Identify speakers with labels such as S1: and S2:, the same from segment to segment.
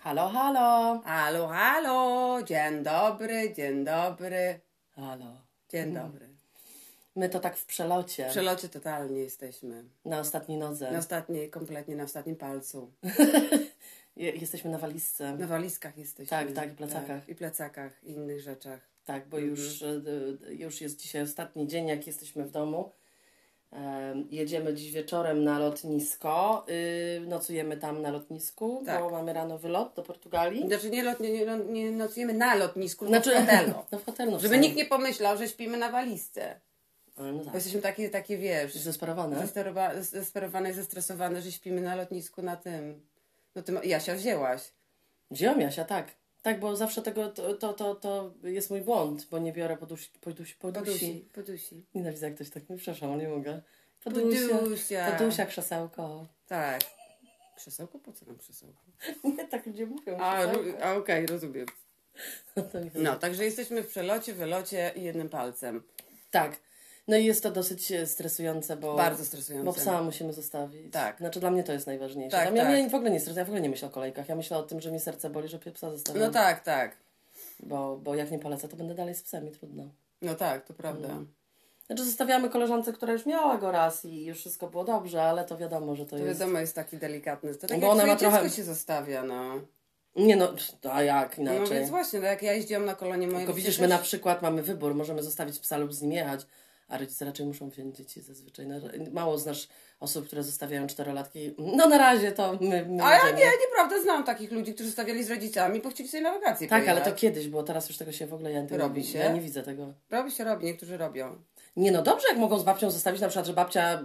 S1: Halo, halo. Halo, halo. Dzień dobry, dzień dobry.
S2: Halo.
S1: Dzień
S2: Mhm.
S1: dobry.
S2: My to tak w przelocie,
S1: W przelocie totalnie jesteśmy.
S2: na ostatniej nodze.
S1: Na ostatniej, kompletnie na ostatnim palcu.
S2: Je- Jesteśmy na walizce.
S1: Na walizkach jesteśmy.
S2: Mhm. Tak, tak, i plecakach.
S1: Tak, I plecakach, i innych rzeczach.
S2: Tak,
S1: Mhm.
S2: bo już, e, e, już jest dzisiaj ostatni dzień, jak jesteśmy w domu. Em, Jedziemy dziś wieczorem na lotnisko. Y, Nocujemy tam na lotnisku,
S1: Tak.
S2: bo mamy rano wylot do Portugalii.
S1: Znaczy nie, lot, nie, nie, lot- nie nocujemy na lotnisku, znaczy
S2: Znaczy-
S1: w hotelu.
S2: No w hotelu. w
S1: Żeby
S2: sumie.
S1: nikt nie pomyślał, że śpimy na walizce.
S2: E, No
S1: Bo
S2: tak.
S1: jesteśmy takie, takie wiesz,
S2: Zesperowane.
S1: zesterowa- zesperowane, zestresowane, że śpimy na lotnisku na tym. No tym Jasia wzięłaś.
S2: Wziąłem Jasia, tak. Tak, bo zawsze tego, to, to, to, to jest mój błąd, bo nie biorę podusi, podusi, podusi.
S1: Podusi. Podusi.
S2: Nienawidzę, jak ktoś tak mówi. Przepraszam, nie mogę. Podusia.
S1: Podusia.
S2: Tatusia krzesełko.
S1: Tak. Krzesełko? Po co nam krzesełko?
S2: Nie, tak ludzie mówią.
S1: A,
S2: krzesełko.
S1: lu- a okej, rozumiem.
S2: To mi chodzi.
S1: No, także jesteśmy w przelocie, wylocie i jednym palcem.
S2: Tak. No i jest to dosyć e, stresujące, bo,
S1: Bardzo stresujące.
S2: bo psa musimy zostawić.
S1: Tak.
S2: Znaczy dla mnie to jest najważniejsze.
S1: Tak,
S2: Tak, ja,
S1: tak.
S2: ja w ogóle nie stresuję, ja w ogóle nie myślę o kolejkach. Ja myślę o tym, że mi serce boli, że psa zostawiam.
S1: No tak, tak.
S2: Bo, bo jak nie polecę, to będę dalej z psami, trudno.
S1: No tak, to prawda.
S2: Znaczy zostawiamy koleżance, która już miała go raz i już wszystko było dobrze, ale to wiadomo, że to,
S1: To
S2: jest...
S1: wiadomo, jest taki delikatny. To tak
S2: Bo
S1: jak
S2: ona
S1: swoje
S2: ma trochę-
S1: dziecko się zostawia, no.
S2: Nie no, a jak
S1: No
S2: inaczej.
S1: więc właśnie, tak jak ja jeździłam na kolonie mojej...
S2: Tylko widzisz, my na przykład mamy wybór, możemy zostawić psa lub z nim jechać, a rodzice raczej muszą wziąć dzieci zazwyczaj. Na- Mało znasz osób, które zostawiają czterolatki. No na razie to my, my
S1: A ja
S2: jedziemy.
S1: nie, nieprawda, znam takich ludzi, którzy stawiali z rodzicami, bo chcieli sobie na wakacje
S2: Tak, ale
S1: pojechać.
S2: to kiedyś było, teraz już tego się w ogóle ja nie
S1: Robi się?
S2: Ja nie widzę tego.
S1: Robi się, robi, niektórzy robią.
S2: Nie no, dobrze jak mogą z babcią zostawić, na przykład, że babcia...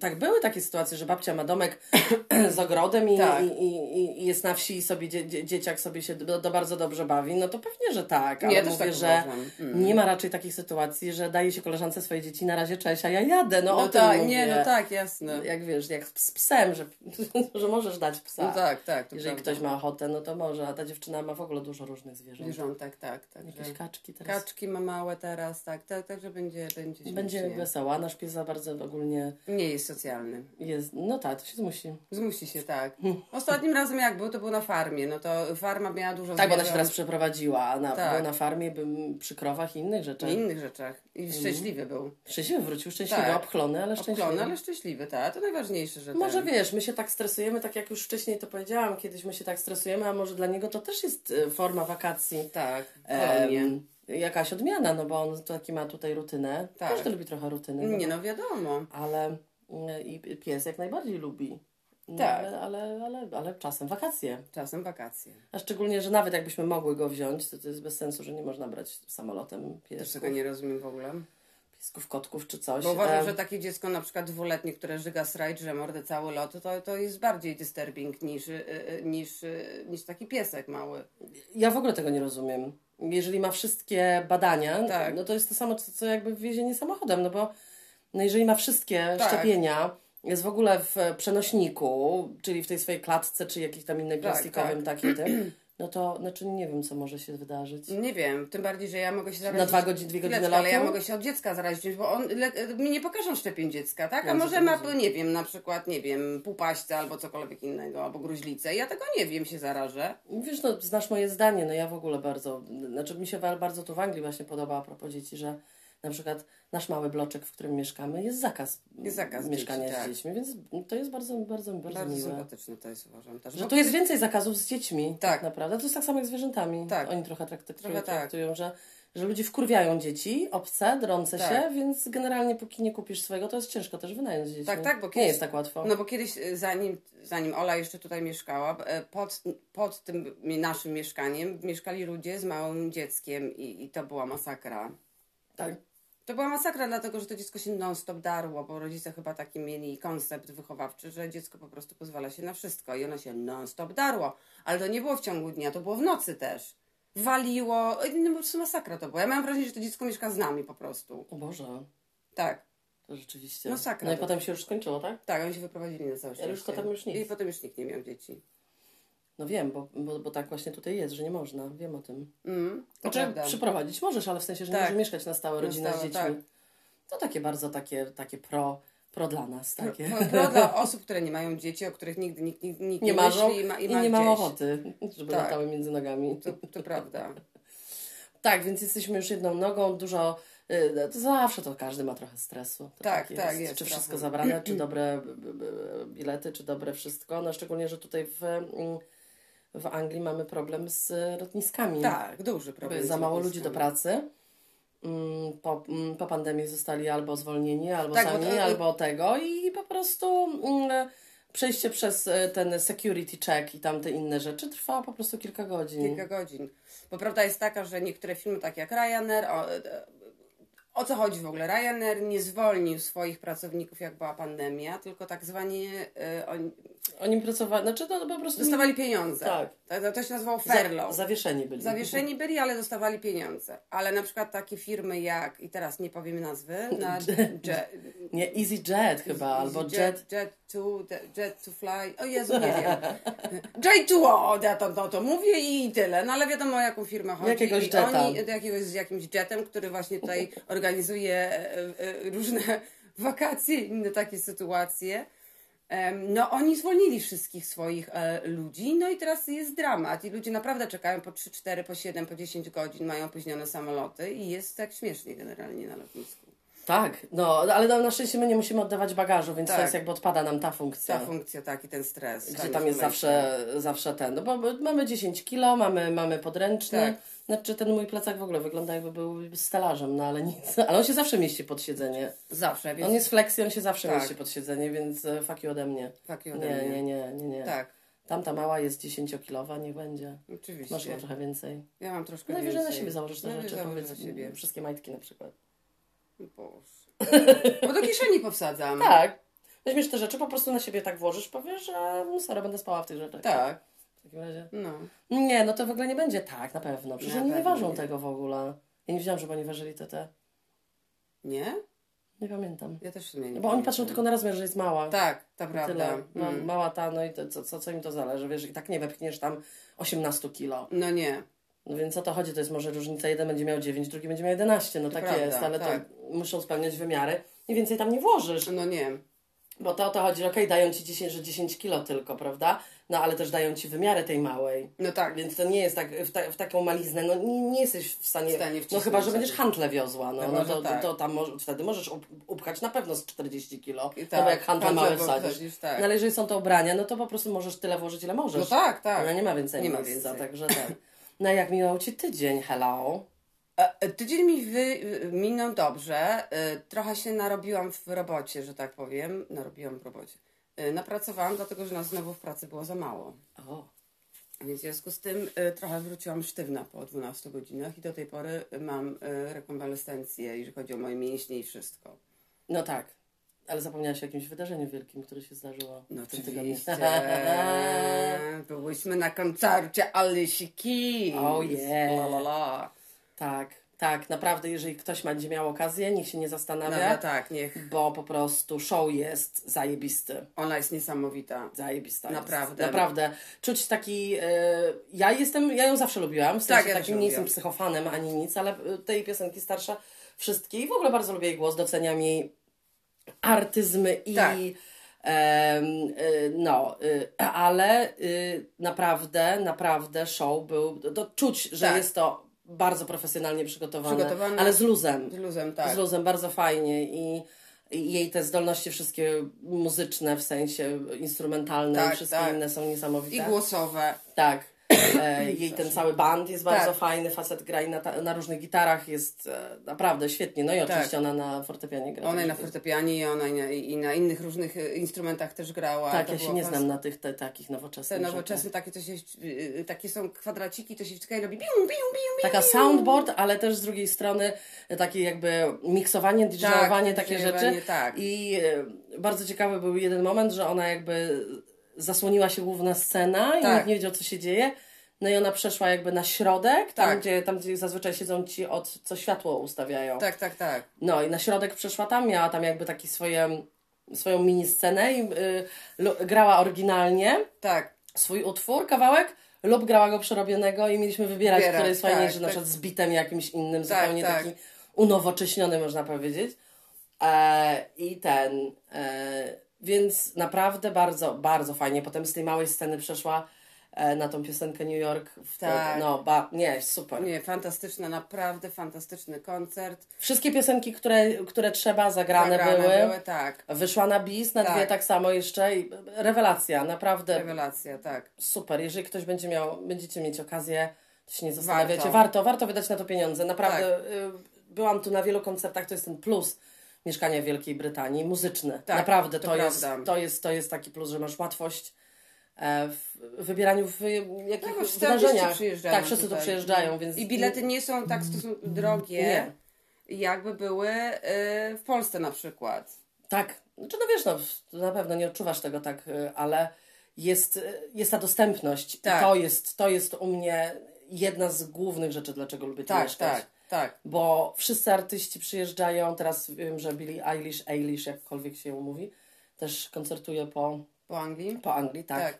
S2: Tak były takie sytuacje, że babcia ma domek z ogrodem i,
S1: Tak.
S2: i, i, i- i jest na wsi i sobie dzie, dzie, dzieciak sobie się do, do bardzo dobrze bawi, no to pewnie, że tak, ale
S1: ja też
S2: mówię,
S1: tak
S2: że
S1: uważam. Mm.
S2: nie ma raczej takich sytuacji, że daje się koleżance swoje dzieci, na razie cześć, a ja jadę, no, o
S1: No
S2: tym
S1: tak,
S2: mówię.
S1: nie, no tak, jasne.
S2: Jak wiesz, jak z ps- psem, że, że możesz dać psa.
S1: No tak, tak, to
S2: Jeżeli
S1: prawda.
S2: ktoś ma ochotę, no to może, a ta dziewczyna ma w ogóle dużo różnych zwierząt.
S1: Zwierzątek, tak, tak.
S2: No. Jakieś kaczki teraz.
S1: Kaczki ma małe teraz, tak, tak, także będzie, będzie śmiesznie.
S2: Będzie wesoła, nasz pies za bardzo ogólnie
S1: Nie jest socjalny.
S2: jest, no tak, to się zmusi.
S1: Zmusi się, tak.
S2: Hmm.
S1: Ostatnim razem jak był, to był na farmie, no to farma miała dużo
S2: Tak, bo ona się
S1: zwierząt
S2: teraz przeprowadziła, na,
S1: Tak.
S2: była na farmie, bym przy krowach i innych
S1: i
S2: rzeczy.
S1: innych rzeczach. I szczęśliwy był.
S2: Szczęśliwy wrócił, szczęśliwy,
S1: Tak.
S2: obchlony, ale Mhm. No, szczęśliwy.
S1: Obklony, ale szczęśliwy, tak, to najważniejsze, że
S2: Może
S1: ten...
S2: wiesz, my się tak stresujemy, tak jak już wcześniej to powiedziałam, kiedyś my się tak stresujemy, a może dla niego to też jest e, forma wakacji.
S1: Tak, kolonie.
S2: Em, jakaś odmiana, no bo on taki ma tutaj rutynę.
S1: Tak.
S2: Każdy lubi trochę rutyny.
S1: Nie no, wiadomo.
S2: Ale e, i pies jak najbardziej lubi. No,
S1: Tak.
S2: Ale, ale, ale, ale czasem wakacje.
S1: Czasem wakacje.
S2: A szczególnie, że nawet jakbyśmy mogły go wziąć, to, to jest bez sensu, że nie można brać samolotem
S1: Też
S2: piesków,
S1: tego nie rozumiem w ogóle.
S2: piesków kotków czy coś.
S1: Bo uważam,
S2: Em,
S1: że takie dziecko na przykład dwuletnie, które żyga srajd, że mordę cały lot, to, to jest bardziej disturbing niż, y, y, niż, y, niż taki piesek mały.
S2: Ja w ogóle tego nie rozumiem. Jeżeli ma wszystkie badania,
S1: Tak.
S2: no to jest to samo, co, co jakby wiezienie samochodem, no bo no jeżeli ma wszystkie
S1: Tak.
S2: szczepienia, jest w ogóle w przenośniku, czyli w tej swojej klatce, czy jakiejś tam innej
S1: Tak,
S2: plastikowym takim tym, no to znaczy nie wiem, co może się wydarzyć.
S1: Nie wiem, tym bardziej, że ja mogę się zarazić.
S2: Na dwa godziny, dwie godziny
S1: Chwileczkę, ale ja
S2: lotu?
S1: mogę się od dziecka zarazić, czymś, bo on, le, mi nie pokażą szczepień dziecka, tak? A
S2: Ja
S1: może
S2: za to
S1: ma,
S2: rozumiem.
S1: nie wiem, na przykład, nie wiem, pupaśce albo cokolwiek innego, albo gruźlicę. Ja tego nie wiem, się zarażę.
S2: Wiesz, no znasz moje zdanie, no ja w ogóle bardzo, znaczy mi się wa- bardzo tu w Anglii właśnie podoba a propos dzieci, że na przykład nasz mały bloczek, w którym mieszkamy, jest zakaz,
S1: Jest zakaz
S2: mieszkania
S1: dzieci,
S2: z
S1: tak.
S2: dziećmi, więc to jest bardzo, bardzo, bardzo,
S1: Bardzo
S2: miłe.
S1: sympatyczne to jest, uważam też.
S2: Że
S1: Bo-
S2: tu jest więcej zakazów z dziećmi, tak,
S1: Tak.
S2: naprawdę. To jest tak samo jak z zwierzętami.
S1: Tak.
S2: Oni trochę trak- traktują,
S1: Trochę tak.
S2: traktują że, że ludzie wkurwiają dzieci, obce, drące
S1: Tak.
S2: się, więc generalnie póki nie kupisz swojego, to jest ciężko też wynająć dzieci.
S1: Tak, tak, bo
S2: Nie
S1: kiedyś-
S2: jest tak łatwo.
S1: No bo kiedyś, e, zanim, zanim Ola jeszcze tutaj mieszkała, e, pod, pod tym mi- naszym mieszkaniem mieszkali ludzie z małym dzieckiem i, i to była masakra.
S2: Tak.
S1: To była masakra, dlatego że to dziecko się non-stop darło, bo rodzice chyba taki mieli koncept wychowawczy, że dziecko po prostu pozwala się na wszystko i ono się non-stop darło. Ale to nie było w ciągu dnia, to było w nocy też. Waliło, e, no po prostu masakra to była. Ja mam wrażenie, że to dziecko mieszka z nami po prostu.
S2: O Boże,
S1: Tak.
S2: to rzeczywiście.
S1: No sakra,
S2: No i
S1: to-
S2: potem się już skończyło, tak?
S1: Tak, oni się wyprowadzili na całe
S2: Ale już
S1: szczęście.
S2: potem już nic.
S1: I potem już nikt nie miał dzieci.
S2: No wiem, bo, bo, bo tak właśnie tutaj jest, że nie można. Wiem o tym.
S1: Mm, to
S2: Znaczy,
S1: prawda.
S2: przyprowadzić możesz, ale w sensie, że
S1: Tak.
S2: nie możesz mieszkać na stałe
S1: Na tak.
S2: rodzina
S1: stałe,
S2: z dziećmi. To takie bardzo takie, takie pro, Pro dla nas takie.
S1: Pro, pro dla No, osób, które nie mają dzieci, o których nigdy nikt, nikt, nikt nie,
S2: Nie marzą
S1: myśli i ma, i
S2: i
S1: ma
S2: nie mam
S1: gdzieś.
S2: ochoty, żeby
S1: Tak.
S2: latały między nogami.
S1: To, to prawda.
S2: Tak, więc jesteśmy już jedną nogą, dużo. y, no To zawsze to każdy ma trochę stresu. To
S1: Tak, tak, jest
S2: Czy
S1: trochę.
S2: wszystko zabrane, czy dobre b- b- b- bilety, czy dobre wszystko. No szczególnie, że tutaj w, mm, w Anglii mamy problem z y, lotniskami.
S1: Tak, duży problem.
S2: Za
S1: z
S2: mało ludzi
S1: lotniskami.
S2: do pracy. Mm, Po, mm, po pandemii zostali albo zwolnieni, albo
S1: Tak, bo
S2: sami,
S1: to-
S2: albo tego i po prostu mm, przejście przez y, ten security check i tamte inne rzeczy trwa po prostu kilka godzin.
S1: Kilka godzin. Bo prawda jest taka, że niektóre filmy, tak jak Ryanair, o, e, o co chodzi w ogóle? Ryanair nie zwolnił swoich pracowników, jak była pandemia, tylko tak zwani e, oni
S2: Oni pracowali, znaczy to po prostu
S1: dostawali pieniądze.
S2: Tak.
S1: To, to się nazywało
S2: Za-
S1: furlough.
S2: Tak, Zawieszeni byli.
S1: Zawieszeni byli, ale dostawali pieniądze. Ale na przykład takie firmy jak, i teraz nie powiem nazwy, na Jet,
S2: Nie, EasyJet chyba, albo Jet.
S1: Jet, jet to, jet to fly. O Jezu, nie wiem. J2O, ja to, to, to mówię i tyle. No ale wiadomo, o jaką firmę chodzi.
S2: Jakiegoś
S1: I
S2: jeta.
S1: Oni, do jakiegoś, z jakimś jetem, który właśnie tutaj organizuje e, e, różne wakacje, inne takie sytuacje. Em, No, oni zwolnili wszystkich swoich e, ludzi, no i teraz jest dramat. I ludzie naprawdę czekają po 3, 4, po 7, po 10 godzin, mają opóźnione samoloty i jest tak śmiesznie generalnie na lotnisku.
S2: Tak, no, ale na szczęście my nie musimy oddawać bagażu, więc
S1: Tak.
S2: to jest jakby odpada nam ta funkcja.
S1: Ta funkcja, tak, i ten stres.
S2: gdzie tam jest zawsze, zawsze ten, no bo mamy 10 kilo, mamy, mamy podręczny.
S1: Tak.
S2: Znaczy ten mój plecak w ogóle wygląda jakby był stelażem, no ale nic. Ale on się zawsze mieści pod siedzenie.
S1: Zawsze, więc
S2: On jest flexi, on się zawsze
S1: Tak.
S2: mieści pod siedzenie, więc e, fuck you ode mnie.
S1: Fuck you ode
S2: nie, nie,
S1: mnie.
S2: nie, nie, nie.
S1: Tak,
S2: Tamta mała jest 10-kilowa, niech będzie.
S1: oczywiście.
S2: Masz chyba trochę więcej.
S1: Ja mam troszkę
S2: Najwyżej na
S1: więcej.
S2: No siebie założysz te
S1: Najwyżej
S2: rzeczy,
S1: założę
S2: powiedz, Mm.
S1: na siebie. No
S2: wszystkie majtki na przykład.
S1: Boże. Bo do kieszeni powsadzam.
S2: Tak. Weźmiesz te rzeczy, po prostu na siebie tak włożysz, powiesz, że no, sorry, będę spała w tych rzeczach.
S1: Tak.
S2: W takim razie.
S1: No.
S2: Nie, no to w ogóle nie będzie tak, na pewno. Przecież
S1: Na
S2: oni nie
S1: pewno
S2: ważą
S1: nie.
S2: tego w ogóle. Ja nie wiedziałam, żeby oni ważyli te te.
S1: Nie?
S2: Nie pamiętam.
S1: Ja też w sumie nie
S2: No bo oni
S1: pamiętam.
S2: patrzą tylko na rozmiar, że jest mała.
S1: Tak, to prawda.
S2: Tyle. Ma,
S1: Mm.
S2: Mała ta, no i to, co, co, co im to zależy, wiesz, i tak nie wepchniesz tam 18 kilo.
S1: No nie.
S2: No więc o to chodzi, to jest może różnica, jeden będzie miał 9, drugi będzie miał 11, no
S1: To
S2: tak
S1: prawda,
S2: jest, ale
S1: tak.
S2: to muszą spełniać wymiary i więcej tam nie włożysz.
S1: No nie.
S2: Bo to o to chodzi, że okej, dają ci 10, że 10 kilo tylko, prawda? No ale też dają ci wymiary tej małej.
S1: No tak.
S2: Więc to nie jest tak w, ta, w taką maliznę, no nie, nie jesteś w stanie.
S1: W stanie wcisnąć
S2: no chyba, że
S1: sobie.
S2: będziesz hantle wiozła, no,
S1: Chyba,
S2: no
S1: że
S2: to,
S1: tak.
S2: to tam moż, wtedy możesz up, upchać na pewno z 40 kilo.
S1: I
S2: no
S1: tak,
S2: bo jak hantle
S1: hantle
S2: małe
S1: bo
S2: wsadzisz.
S1: wsadzisz, tak.
S2: No ale jeżeli są to ubrania, no to po prostu możesz tyle włożyć, ile możesz.
S1: No tak,
S2: No
S1: tak.
S2: nie ma więcej
S1: Nie ma
S2: miejsca,
S1: więcej.
S2: także ten. No jak minął Ci tydzień, hello.
S1: E, e, Tydzień mi wy, y, minął dobrze. E, Trochę się narobiłam w robocie, że tak powiem. Narobiłam w robocie. E, Napracowałam, dlatego że nas znowu w pracy było za mało.
S2: O,
S1: Więc w związku z tym e, trochę wróciłam sztywna po 12 godzinach i do tej pory mam e, rekonwalescencję, jeżeli chodzi o moje mięśnie i wszystko.
S2: no tak. Ale zapomniałaś o jakimś wydarzeniu wielkim, które się zdarzyło
S1: No
S2: w tym tygodniu.
S1: oczywiście. Byłyśmy na koncercie Alicia Keys.
S2: Oh, yeah.
S1: La, la, la.
S2: tak, tak, naprawdę, jeżeli ktoś będzie miał okazję, niech się nie
S1: No,
S2: zastanawia.
S1: no tak, niech.
S2: bo po prostu show jest zajebisty.
S1: Ona jest niesamowita.
S2: Zajebista. Jest.
S1: Naprawdę.
S2: Naprawdę. Czuć taki. E, ja jestem, ja ją zawsze lubiłam. W sensie
S1: Tak, ja też
S2: takim nie
S1: lubię.
S2: jestem psychofanem ani nic, ale e, tej piosenki starsza wszystkie i w ogóle bardzo lubię jej głos, doceniam jej artyzm i.
S1: Tak.
S2: em, e, no, e, ale e, naprawdę, naprawdę show był. To, to czuć, że
S1: Tak.
S2: jest to bardzo profesjonalnie przygotowane,
S1: Przygotowane.
S2: ale z luzem
S1: Z luzem, tak.
S2: z luzem bardzo fajnie i, i jej te zdolności wszystkie muzyczne, w sensie instrumentalne
S1: Tak,
S2: i wszystkie
S1: tak.
S2: inne są niesamowite.
S1: I głosowe.
S2: Tak. E, jej ten cały band jest bardzo
S1: Tak.
S2: fajny, facet gra i na, ta, na różnych gitarach jest e, naprawdę świetnie. No i
S1: Tak.
S2: oczywiście ona na fortepianie gra. Tak,
S1: Ona i na
S2: Także-
S1: fortepianie, i ona i na, i na innych różnych e, instrumentach też grała.
S2: Tak,
S1: To
S2: ja się
S1: było
S2: nie
S1: fas-
S2: znam tak. na tych te, takich
S1: Te
S2: nowoczesnych.
S1: nowoczesne
S2: rzeczach.
S1: takie, to się, e, takie są kwadraciki, to się wciska i robi bium, bium, bium, bium.
S2: Taka soundboard, ale też z drugiej strony takie jakby miksowanie, DJowanie, takie
S1: DJowanie,
S2: rzeczy.
S1: Tak.
S2: I e, bardzo ciekawy był jeden moment, że ona jakby zasłoniła się główna scena i
S1: Tak.
S2: nikt nie wiedział, co się dzieje. No i ona przeszła jakby na środek, tam,
S1: Tak.
S2: gdzie, tam gdzie zazwyczaj siedzą ci od co światło ustawiają.
S1: Tak, tak, tak.
S2: No i na środek przeszła tam, miała tam jakby taki swoje, swoją mini scenę i y, lu- grała oryginalnie
S1: Tak.
S2: swój utwór, kawałek, lub grała go przerobionego i mieliśmy wybierać,
S1: Wybierać,
S2: który jest fajniejszy,
S1: tak,
S2: na
S1: tak.
S2: przykład z bitem jakimś innym,
S1: Tak,
S2: zupełnie
S1: tak.
S2: taki unowocześniony, można powiedzieć. E, I ten. E, więc naprawdę bardzo, bardzo fajnie. Potem z tej małej sceny przeszła e, na tą piosenkę New York. W
S1: Tak.
S2: No, ba, nie, super.
S1: Nie, fantastyczne, naprawdę fantastyczny koncert.
S2: Wszystkie piosenki, które, które trzeba, zagrane,
S1: Zagrane
S2: były.
S1: były, tak.
S2: Wyszła na bis, na
S1: Tak.
S2: dwie tak samo jeszcze. I rewelacja, naprawdę
S1: Rewelacja, tak.
S2: super. Jeżeli ktoś będzie miał, będziecie mieć okazję, to się nie zastanawiacie.
S1: Warto. Tak.
S2: Warto, warto, wydać na to pieniądze. Naprawdę y, byłam tu na wielu koncertach, to jest ten plus mieszkania w Wielkiej Brytanii, muzyczny.
S1: Tak,
S2: Naprawdę,
S1: to
S2: to, jest,
S1: prawda.
S2: to, jest, to jest taki plus, że masz łatwość e, w wybieraniu w jakich
S1: No, już terroryści
S2: wydarzeniach.
S1: przyjeżdżają
S2: Tak, wszyscy
S1: tutaj.
S2: tu przyjeżdżają, więc...
S1: I bilety nie są tak stosunkowo drogie,
S2: Nie.
S1: jakby były y, w Polsce na przykład.
S2: Tak, znaczy no wiesz, no, to na pewno nie odczuwasz tego tak, y, ale jest, y, jest ta dostępność.
S1: Tak.
S2: I to jest, to jest u mnie jedna z głównych rzeczy, dlaczego lubię tu
S1: Tak,
S2: mieszkać.
S1: tak, tak.
S2: Bo wszyscy artyści przyjeżdżają, teraz wiem, że Billie Eilish, Eilish, jakkolwiek się ją mówi, też koncertuje po,
S1: Po Anglii?
S2: po Anglii, tak.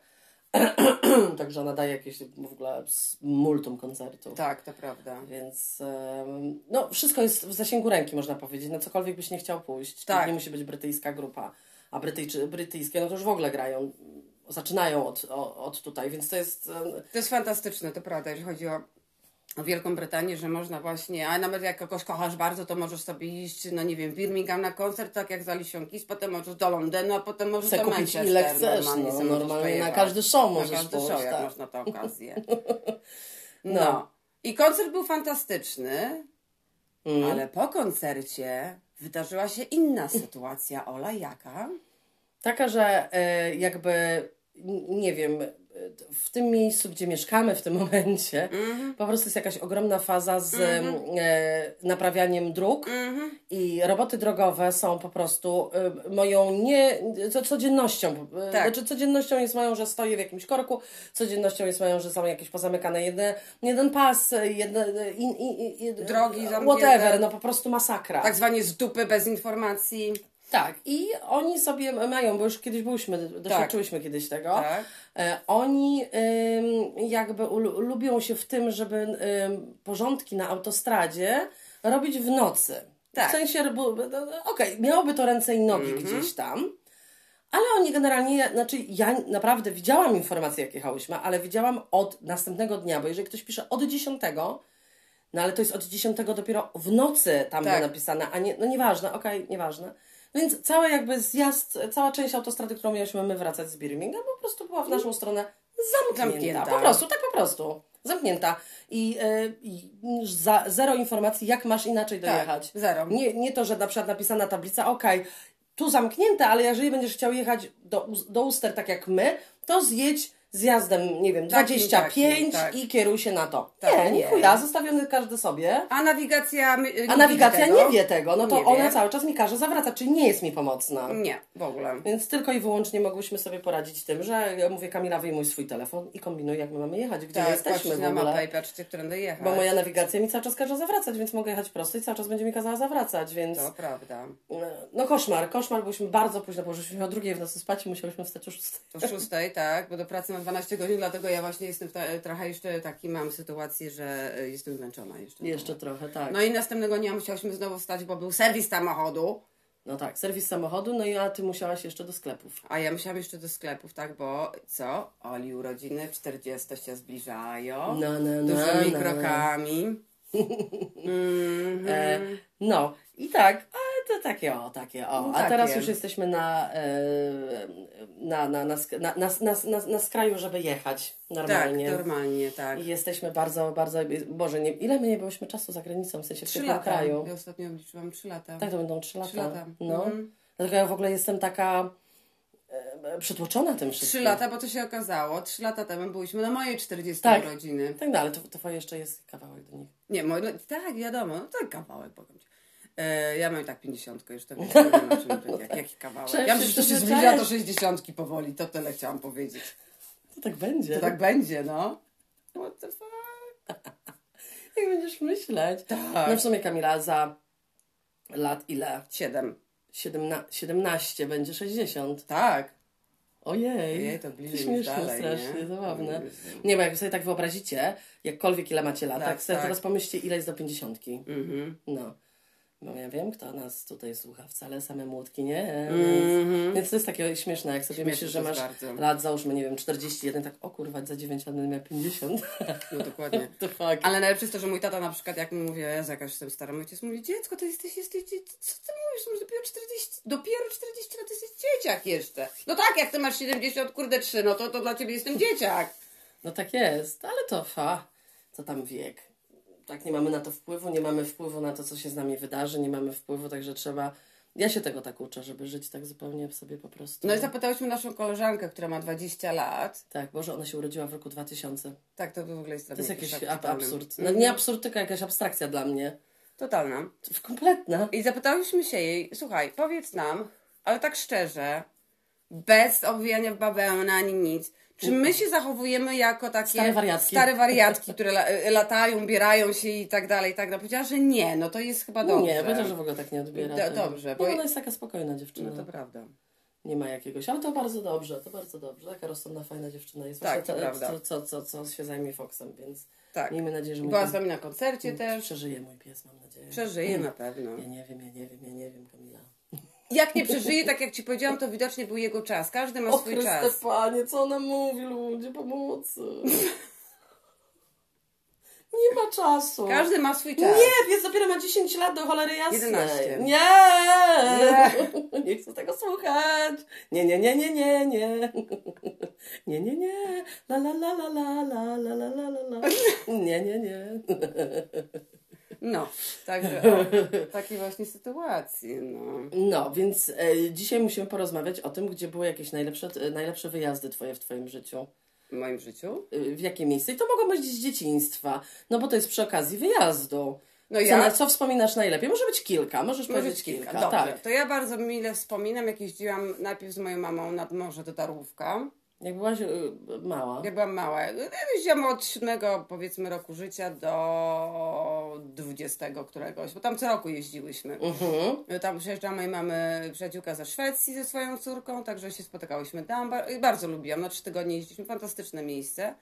S2: Także ona daje jakieś w ogóle s- multum koncertów.
S1: Tak, to prawda.
S2: Więc em, no, wszystko jest w zasięgu ręki, można powiedzieć, na cokolwiek byś nie chciał pójść.
S1: Tak.
S2: Tak. Nie musi być brytyjska grupa, a Brytyjczy, brytyjskie no to już w ogóle grają, zaczynają od, o, od tutaj, więc to jest... em,
S1: To jest fantastyczne, to prawda, jeżeli chodzi o o Wielką Brytanię, że można właśnie, a nawet jak kogoś kochasz bardzo, to możesz sobie iść, no nie wiem, w Birmingham na koncert, tak jak z Alicia Keys, potem możesz do Londynu, a potem możesz
S2: Chcę
S1: do
S2: kupić
S1: Manchester.
S2: ile chcesz,
S1: normalnie
S2: no,
S1: sobie możesz
S2: normalnie na
S1: pojechać.
S2: każdy show możesz
S1: Na każdy
S2: pójść,
S1: show, jak
S2: tak.
S1: masz na tę okazję. No.
S2: No.
S1: I koncert był fantastyczny,
S2: Mm.
S1: ale po koncercie wydarzyła się inna sytuacja, Ola, jaka?
S2: Taka, że e, jakby, n- nie wiem, e, w tym miejscu, gdzie mieszkamy w tym momencie,
S1: Mhm.
S2: po prostu jest jakaś ogromna faza z em, e, naprawianiem dróg
S1: Mhm.
S2: i roboty drogowe są po prostu e, moją nie, co, codziennością. E,
S1: Tak.
S2: Znaczy codziennością jest moją, że stoję w jakimś korku, codziennością jest moją, że są jakieś pozamykane jedne, jeden pas, e, jedne, in, in, in, jed-
S1: Drogi zamknięte.
S2: whatever, no po prostu masakra.
S1: Tak zwanie z dupy, bez informacji.
S2: Tak, i oni sobie mają, bo już kiedyś byliśmy, doświadczyłyśmy kiedyś tego.
S1: Tak.
S2: E, Oni ym, jakby ul- lubią się w tym, żeby ym, porządki na autostradzie robić w nocy.
S1: Tak. Mhm.
S2: W sensie, bo- bo- no, okej, miałoby to ręce i nogi gdzieś tam, ale oni generalnie, znaczy ja naprawdę widziałam informacje, jak jechałyśmy, ale widziałam od następnego dnia, bo jeżeli ktoś pisze od 10, no ale to jest od 10 dopiero w nocy tam
S1: Tak.
S2: było napisane, a nie, no nieważne, okej, nieważne. No więc cały jakby zjazd, cała część autostrady, którą mieliśmy my wracać z Birmingham, po prostu była w naszą stronę zamknięta.
S1: Zamknięta.
S2: Po prostu, tak po prostu. Zamknięta. I, e, i za, zero informacji, jak masz inaczej dojechać.
S1: Tak, zero.
S2: Nie, nie to, że na przykład napisana tablica, okej, tu zamknięte, ale jeżeli będziesz chciał jechać do, Us- do Uster tak jak my, to zjedź zjazdem, nie wiem,
S1: Takim,
S2: 25
S1: takim, tak.
S2: i kieruj się na to.
S1: Tak,
S2: nie, nie,
S1: nie.
S2: chuja, zostawiony każdy sobie.
S1: A nawigacja... my-
S2: A
S1: nie
S2: nawigacja
S1: tego?
S2: nie wie tego, no to
S1: Nie wie. Mm.
S2: ona cały czas mi każe zawracać, czyli nie jest mi pomocna.
S1: Nie, w ogóle.
S2: Więc tylko i wyłącznie mogłyśmy sobie poradzić tym, że ja mówię Kamila wyjmuj swój telefon i kombinuj jak my mamy jechać, gdzie my jesteśmy
S1: patrzcie
S2: w
S1: Tak, na mapę
S2: ogóle.
S1: i tak. patrzcie, którędy jechać.
S2: Bo moja nawigacja mi cały czas każe zawracać, więc mogę jechać prosto i cały czas będzie mi kazała zawracać, więc
S1: To prawda.
S2: no koszmar, koszmar, byliśmy bardzo późno, bo żeśmy o drugiej w nocy spać i musieliśmy wstać o szóstej.
S1: To szóstej, tak, bo do pracy mam 12 godzin, dlatego ja właśnie jestem ta, trochę jeszcze taki, mam sytuację, że y, jestem zmęczona jeszcze.
S2: Jeszcze trochę, tak.
S1: No i następnego dnia musiałyśmy znowu wstać, bo był serwis samochodu,
S2: No tak, serwis samochodu, no i a ty musiałaś jeszcze do sklepów.
S1: a ja musiałam jeszcze do sklepów, tak, bo co? Oli urodziny, 40 się zbliżają,
S2: No, no, no,
S1: dużymi
S2: no.
S1: krokami. Mhm.
S2: E, no i tak, a to takie o, takie o.
S1: No
S2: a teraz
S1: takie.
S2: już jesteśmy na, e, na, na, na, sk- na, na, na, na, na skraju, żeby jechać
S1: tak,
S2: normalnie.
S1: normalnie, tak.
S2: I jesteśmy bardzo, bardzo. Boże, nie, ile my nie byliśmy czasu za granicą, w sensie w
S1: Trzy
S2: tym
S1: lata.
S2: kraju.
S1: Ja ostatnio obliczyłam trzy lata.
S2: Tak, to będą trzy lata.
S1: Trzy lata.
S2: No.
S1: Mhm.
S2: Dlatego ja w ogóle jestem taka e, przytłoczona tym wszystkim.
S1: Trzy lata, bo to się okazało. Trzy lata temu byliśmy na mojej 40
S2: Tak.
S1: urodziny.
S2: Tak, no, ale to, to twoje jeszcze jest kawałek do nich.
S1: Nie, mo- no, tak, wiadomo, no, to kawałek powiem ci. E, ja mam i tak 50, już to wiem, nie wiem, o czym będzie, jak- jaki kawałek.
S2: Cześć,
S1: ja myślę, że to się
S2: cześć,
S1: zbliża do
S2: cześć.
S1: 60 powoli, to tyle chciałam powiedzieć.
S2: To tak będzie.
S1: To tak będzie, no. What the fuck?
S2: Jak będziesz myśleć.
S1: Tak.
S2: No w sumie Kamila za lat ile?
S1: 7.
S2: Siedemna- 17 będzie 60.
S1: Tak.
S2: Ojej.
S1: Jej, to bliżej niż
S2: Śmieszne,
S1: dalej,
S2: strasznie,
S1: nie?
S2: zabawne.
S1: Mm.
S2: Nie, bo jak sobie tak wyobrazicie, jakkolwiek ile macie lat,
S1: Tak,
S2: tak, sobie
S1: tak.
S2: teraz pomyślcie ile jest do 50.
S1: Mhm.
S2: No. No ja wiem, kto nas tutaj słucha, wcale same młotki nie.
S1: Mhm.
S2: Więc to jest takie śmieszne, jak sobie
S1: Śmieszne
S2: myślisz,
S1: to
S2: że masz
S1: jest bardzo.
S2: lat, załóżmy, nie wiem, 41, tak o kurwa, za 9 lat będę miał 50.
S1: No dokładnie.
S2: To fuck.
S1: Ale najlepsze jest to, że mój tata na przykład, jak mu mówię, Jezu, jakaś jestem stara, mój ojciec mówi, dziecko, ty jesteś, jesteś, dzie- co ty mówisz, masz dopiero 40, dopiero 40 lat, jesteś dzieciak jeszcze. No tak, jak ty masz 70, kurde, 3, no to, to dla ciebie jestem dzieciak.
S2: No tak jest, ale to fa, co tam wiek. Tak, nie mamy na to wpływu, nie mamy wpływu na to, co się z nami wydarzy, nie mamy wpływu, także trzeba. Ja się tego tak uczę, żeby żyć tak zupełnie sobie po prostu.
S1: No i zapytałyśmy naszą koleżankę, która ma 20 lat.
S2: Tak, Boże, ona się urodziła w roku 2000.
S1: Tak, to w ogóle jest
S2: To jest jakiś ab-
S1: totalny. Mhm.
S2: absurd. No, nie absurd, tylko jakaś abstrakcja dla mnie.
S1: Totalna.
S2: To już kompletna.
S1: I zapytałyśmy się jej, słuchaj, powiedz nam, ale tak szczerze, bez obwijania w bawełnę ani nic, czy my się zachowujemy jako takie
S2: Mhm. Stare wariatki.
S1: stare wariatki, które la, e, latają, bierają się i tak dalej, i tak dalej. Powiedziała, że nie, no to jest chyba dobrze.
S2: Nie, będzie, że w ogóle tak nie odbiera.
S1: Do-
S2: to-
S1: dobrze,
S2: Nie,
S1: bo-
S2: bo ona jest taka spokojna dziewczyna.
S1: No to prawda.
S2: Nie ma jakiegoś, ale to bardzo dobrze, to bardzo dobrze. Taka rozsądna, fajna dziewczyna jest.
S1: Tak,
S2: Właśnie
S1: to prawda.
S2: Co, co, co, co się zajmie Foxem, więc
S1: Tak.
S2: miejmy nadzieję, że mój
S1: Była
S2: pies-
S1: z wami na koncercie też.
S2: przeżyje mój pies, mam nadzieję.
S1: Przeżyje na pewno.
S2: Ja nie wiem, ja nie wiem, ja nie wiem, Kamila.
S1: Jak nie przeżyje, tak jak ci powiedziałam, to widocznie był jego czas. Każdy ma
S2: O
S1: swój
S2: Chryste
S1: czas.
S2: Panie, co ona mówi, ludzie, pomocy. nie ma czasu.
S1: Każdy ma swój czas.
S2: Nie, pies dopiero ma 10 lat do cholery jasnej.
S1: 11.
S2: Nie! nie! chcę tego słuchać. Nie, nie, nie, nie, nie, nie. Nie, nie, nie. La, la, la, la, la, la, la, la, la, la, la. Nie, nie, nie.
S1: No, także o, takiej właśnie sytuacji, no.
S2: No, więc e, dzisiaj musimy porozmawiać o tym, gdzie były jakieś najlepsze, e, najlepsze wyjazdy twoje w twoim życiu.
S1: W moim życiu.
S2: E, w jakie miejsce? I to mogą być z dzieciństwa, no bo to jest przy okazji wyjazdu.
S1: No
S2: co,
S1: ja-
S2: na- co wspominasz najlepiej? Może być kilka, możesz
S1: Może
S2: powiedzieć kilka.
S1: Dobrze,
S2: Tak.
S1: to ja bardzo mile wspominam, jak jeździłam najpierw z moją mamą nad morze do Tarłówka.
S2: Jak byłaś e, mała.
S1: Ja byłam mała. Jeździłam od siódmego, powiedzmy, roku życia do dwudziestego któregoś, bo tam co roku jeździłyśmy.
S2: Mhm.
S1: Y, Tam przyjeżdżała mojej mamy przyjaciółka ze Szwecji ze swoją córką, także się spotykałyśmy tam. Ba- i Bardzo lubiłam, na trzy tygodnie jeździliśmy, fantastyczne miejsce.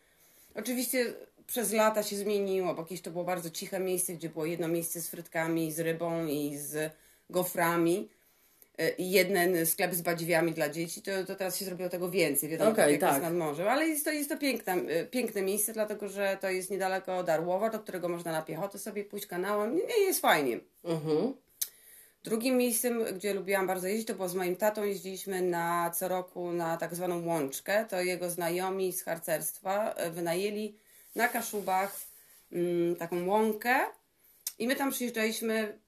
S1: Oczywiście przez lata się zmieniło, bo kiedyś to było bardzo ciche miejsce, gdzie było jedno miejsce z frytkami, z rybą i z goframi. y, I jeden sklep z badziwiami dla dzieci, to, to teraz się zrobiło tego więcej, wiadomo,
S2: Okej,
S1: tak jak
S2: tak.
S1: jest nad morzem. Ale jest to, jest to piękne, y, piękne miejsce, dlatego że to jest niedaleko Darłowa, do którego można na piechotę sobie pójść kanałem. Nie, jest fajnie.
S2: Mhm.
S1: Drugim miejscem, gdzie lubiłam bardzo jeździć, to było z moim tatą. Jeździliśmy na co roku na tak zwaną łączkę. To jego znajomi z harcerstwa e, wynajęli na Kaszubach mm, taką łąkę i my tam przyjeżdżaliśmy,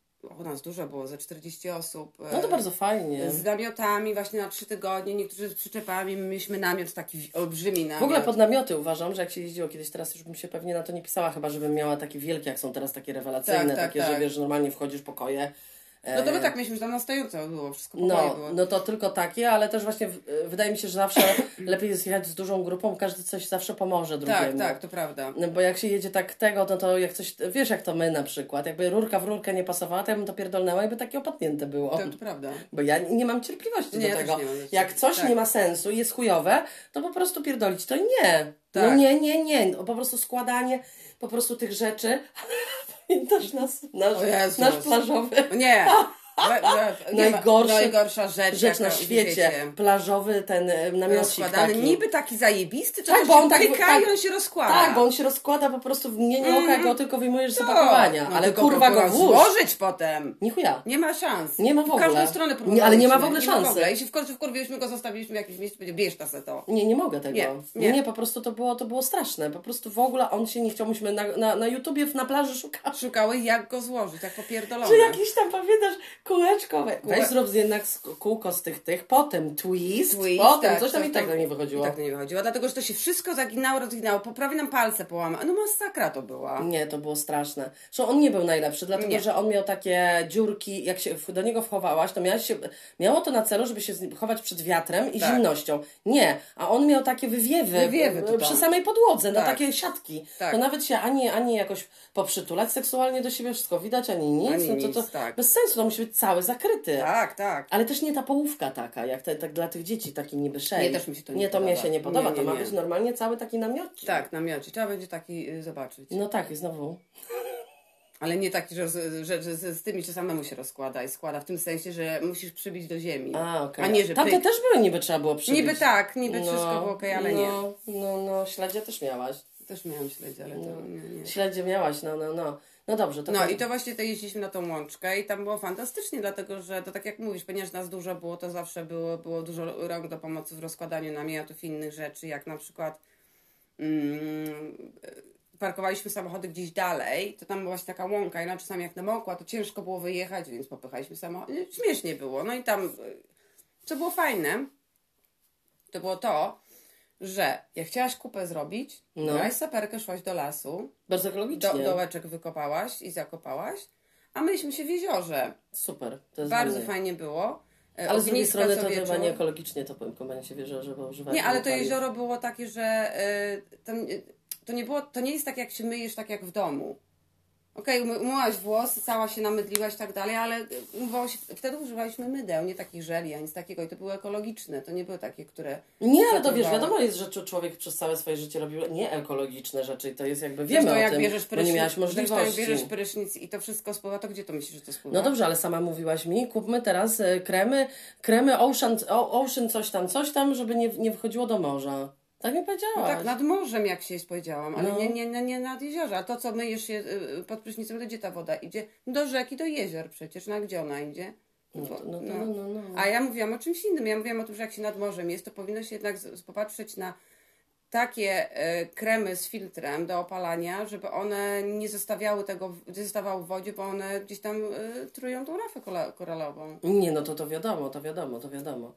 S1: o nas dużo było, ze 40 osób. e,
S2: No to bardzo fajnie.
S1: Z namiotami właśnie na trzy tygodnie, niektórzy z przyczepami. My mieliśmy namiot taki wi- olbrzymi namiot.
S2: W ogóle pod namioty uważam, że jak się jeździło kiedyś, teraz już bym się pewnie na to nie pisała, chyba żebym miała takie wielkie, jak są teraz takie rewelacyjne,
S1: Tak, tak,
S2: takie,
S1: tak.
S2: że wiesz, normalnie wchodzisz w pokoje. E,
S1: No to my tak mieliśmy, że tam na stojąco było, wszystko po kolei
S2: No,
S1: było.
S2: no to tylko takie, ale też właśnie w- e, wydaje mi się, że zawsze lepiej jest jechać z dużą grupą, każdy coś zawsze pomoże
S1: tak,
S2: drugiemu.
S1: tak, to prawda.
S2: No bo jak się jedzie tak tego, no to jak coś, wiesz jak to my na przykład, jakby rurka w rurkę nie pasowała, to ja bym to pierdolnęła i by takie opadnięte było.
S1: To, to prawda.
S2: Bo ja nie mam cierpliwości
S1: Nie, ja
S2: do
S1: też
S2: tego.
S1: nie mam cierpliwości.
S2: Jak coś
S1: Tak.
S2: nie ma sensu i jest chujowe, to po prostu pierdolić to nie. No
S1: Tak.
S2: nie, nie, nie. No, po prostu składanie po prostu tych rzeczy. Pamiętasz nas, nasz,
S1: O Jezus.
S2: nasz plażowy
S1: Nie. We, we, nie ma-
S2: Najgorszy-
S1: najgorsza rzecz,
S2: rzecz na
S1: jaka-
S2: świecie. Plażowy ten e, namiocik
S1: rozkładany,
S2: taki.
S1: niby taki zajebisty, czy
S2: Tak,
S1: tak,
S2: bo
S1: on
S2: on tak-
S1: pyka
S2: tak-
S1: i on się rozkłada.
S2: Tak, bo on się rozkłada po prostu w nie, nie oka go, tylko wyjmujesz z
S1: To,
S2: opakowania.
S1: Mhm. no
S2: ale
S1: tylko
S2: kurwa go
S1: próbują
S2: włóż.
S1: złożyć potem.
S2: Nie chuja.
S1: Nie ma szans.
S2: Nie ma w
S1: Po każdą
S2: ogóle.
S1: stronę
S2: Nie,
S1: próbowaliśmy.
S2: ale nie ma w ogóle
S1: Nie ma w
S2: szansy.
S1: ogóle. I się wkur- wkurwiliśmy go, zostawiliśmy w jakimś miejscu, powiedział, bierz ta se to.
S2: Nie, nie mogę tego.
S1: Nie,
S2: Nie,
S1: nie.
S2: nie. po prostu to było, to było straszne. Po prostu w ogóle on się nie chciał. Myśmy na, na, na YouTubie na plaży szukali.
S1: Szukały jak go złożyć, jak popierdolone.
S2: Czy jakiś tam, pamiętasz, kółeczko. we-
S1: Kółe-
S2: Weź zrób z- jednak z- kółko z tych tych, potem twist,
S1: Twist,
S2: potem
S1: tak,
S2: coś tam
S1: coś
S2: i tak
S1: tam-
S2: na nie
S1: I
S2: wychodziło.
S1: tak nie wychodziło, dlatego że to się wszystko zaginało, rozginało. Po prawie nam palce połama. No masakra to była.
S2: Nie, to było straszne. Zresztą on nie był najlepszy, dlatego
S1: Nie.
S2: że on miał takie dziurki, jak się w- do niego wchowałaś, to miałaś się, miało to na celu, żeby się z nim chować przed wiatrem i
S1: Tak.
S2: zimnością. Nie, a on miał takie wywiewy,
S1: Wywiewy
S2: e,
S1: tutaj.
S2: przy samej podłodze,
S1: Tak.
S2: no takie siatki.
S1: Tak.
S2: To nawet się ani, ani jakoś poprzytulać seksualnie do siebie, wszystko widać, ani nic.
S1: Ani
S2: no to, to
S1: nic, tak.
S2: bez sensu, to musi być cały zakryty.
S1: Tak, tak.
S2: Ale też nie ta połówka taka, jak te, tak dla tych dzieci, taki niby szej.
S1: Nie, też mi się to nie
S2: Nie, to
S1: podoba.
S2: mnie się nie podoba,
S1: Nie, nie,
S2: to ma
S1: nie.
S2: być normalnie cały taki namiot.
S1: Tak, namiocie. Trzeba będzie taki y, zobaczyć.
S2: No tak, i znowu.
S1: Ale nie taki, że, z- że, że z, z tymi, czy samemu się rozkłada i składa, w tym sensie, że musisz przybić do ziemi.
S2: A, okej.
S1: A nie, że
S2: Tamte
S1: pyk.
S2: też były niby trzeba było przybić.
S1: Niby tak, niby wszystko było okej, ale
S2: no,
S1: nie.
S2: No, no, śledzia też miałaś.
S1: Też miałam śledź, ale
S2: No.
S1: to nie, nie.
S2: Śledzie miałaś, no, no, no. No dobrze, to
S1: No
S2: potem-
S1: i to właśnie to jeździliśmy na tą łączkę i tam było fantastycznie, dlatego że to tak jak mówisz, ponieważ nas dużo było, to zawsze było, było dużo rąk do pomocy w rozkładaniu namiotów i innych rzeczy, jak na przykład mm, parkowaliśmy samochody gdzieś dalej, to tam była właśnie taka łąka i no, czasami jak namokła, to ciężko było wyjechać, więc popychaliśmy samochody. Śmiesznie było. No i tam, y, co było fajne, to było to, że jak chciałaś kupę zrobić,
S2: No.
S1: no. brałaś saperkę, szłaś do lasu,
S2: Bardzo ekologicznie.
S1: do, dołeczek wykopałaś i zakopałaś, a myliśmy się w jeziorze.
S2: Super. To jest
S1: Bardzo
S2: fajne.
S1: fajnie było. E,
S2: Ale z drugiej
S1: ogniska
S2: strony
S1: co
S2: to chyba
S1: wieczór.
S2: nie ekologicznie, to powiem komendzie wierzę, że używać.
S1: Nie, ale to jezioro było takie, że y, tam, y, to, nie było, to nie jest tak, jak się myjesz, tak jak w domu. Okej, umy- umyłaś włosy, cała się namydliłaś i tak dalej, ale y, umywało się, wtedy używaliśmy mydeł, nie takich żeli, ani nic takiego. I to były ekologiczne, to nie były takie, które...
S2: Nie, ale to wiesz,
S1: Zadbała.
S2: wiadomo jest, że człowiek przez całe swoje życie robił nieekologiczne rzeczy i to jest jakby, wiemy
S1: Zresztą
S2: o
S1: jak
S2: tym,
S1: bierzesz
S2: bo nie
S1: prysznic,
S2: miałaś
S1: zresztą jak
S2: możliwości.
S1: bierzesz prysznic i to wszystko spływa, to gdzie to myślisz, że to spływa?
S2: No dobrze, ale sama mówiłaś mi, kupmy teraz e, kremy, kremy Ocean, o- Ocean coś tam, coś tam, żeby nie, nie wychodziło do morza. Tak mi powiedziałaś.
S1: No tak, nad morzem, jak się jest powiedziałam, ale
S2: No.
S1: nie, nie, nie, nie nad jeziorze. A to, co myjesz się y, pod prysznicem, to gdzie ta woda idzie? Do rzeki, do jezior przecież. No a gdzie ona idzie?
S2: No,
S1: Bo-
S2: to- no, to- no, no, no.
S1: A ja mówiłam o czymś innym. Ja mówiłam o tym, że jak się nad morzem jest, to powinno się jednak z- z- popatrzeć na takie y, kremy z filtrem do opalania, żeby one nie zostawiały tego, w- nie zostawały w wodzie, bo one gdzieś tam y, trują tą rafę kola- koralową.
S2: Nie, no to to wiadomo, to wiadomo, to wiadomo.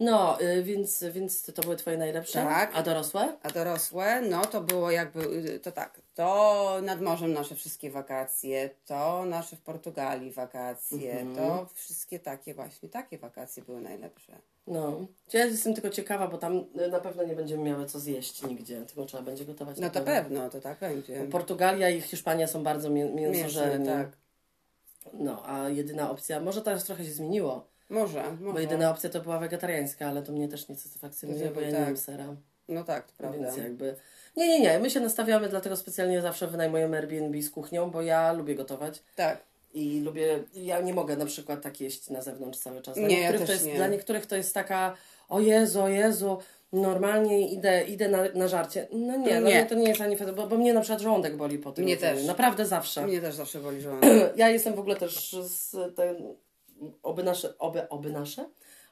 S2: No, y, więc, więc to były twoje najlepsze?
S1: Tak.
S2: A dorosłe?
S1: A dorosłe, no to było jakby, y, to tak, to nad morzem nasze wszystkie wakacje, to nasze w Portugalii wakacje, to
S2: Mhm.
S1: wszystkie takie właśnie, takie wakacje były najlepsze.
S2: No. Ja jestem tylko ciekawa, bo tam y, na pewno nie będziemy miały co zjeść nigdzie, tylko trzeba będzie gotować.
S1: No
S2: na
S1: to pewno, to tak będzie.
S2: Portugalia i Hiszpania są bardzo mię-
S1: Mięsne,
S2: mięsożerni.
S1: tak.
S2: No, a jedyna opcja, może teraz trochę się zmieniło,
S1: Może, może.
S2: bo jedyna opcja to była wegetariańska, ale to mnie też nie
S1: To
S2: satysfakcjonuje, bo
S1: żeby
S2: ja nie
S1: tak.
S2: jem sera.
S1: No tak, to prawda.
S2: Więc jakby... Nie, nie, nie, my się nastawiamy, dlatego specjalnie zawsze wynajmujemy Airbnb z kuchnią, bo ja lubię gotować.
S1: Tak,
S2: I lubię, ja nie mogę na przykład tak jeść na zewnątrz cały czas. Dla,
S1: Nie, ja
S2: niektórych, to
S1: też
S2: jest,
S1: nie.
S2: dla niektórych to jest taka, o Jezu, o Jezu, normalnie idę, idę na, na żarcie. No nie,
S1: Nie.
S2: Dla mnie to nie jest ani fajne, bo, bo mnie na przykład żołądek boli po tym.
S1: Mnie
S2: jedzeniu.
S1: też.
S2: Naprawdę zawsze.
S1: mnie też zawsze boli żołądek.
S2: Ja jestem w ogóle też z ten, oby nasze, oby, oby nasze,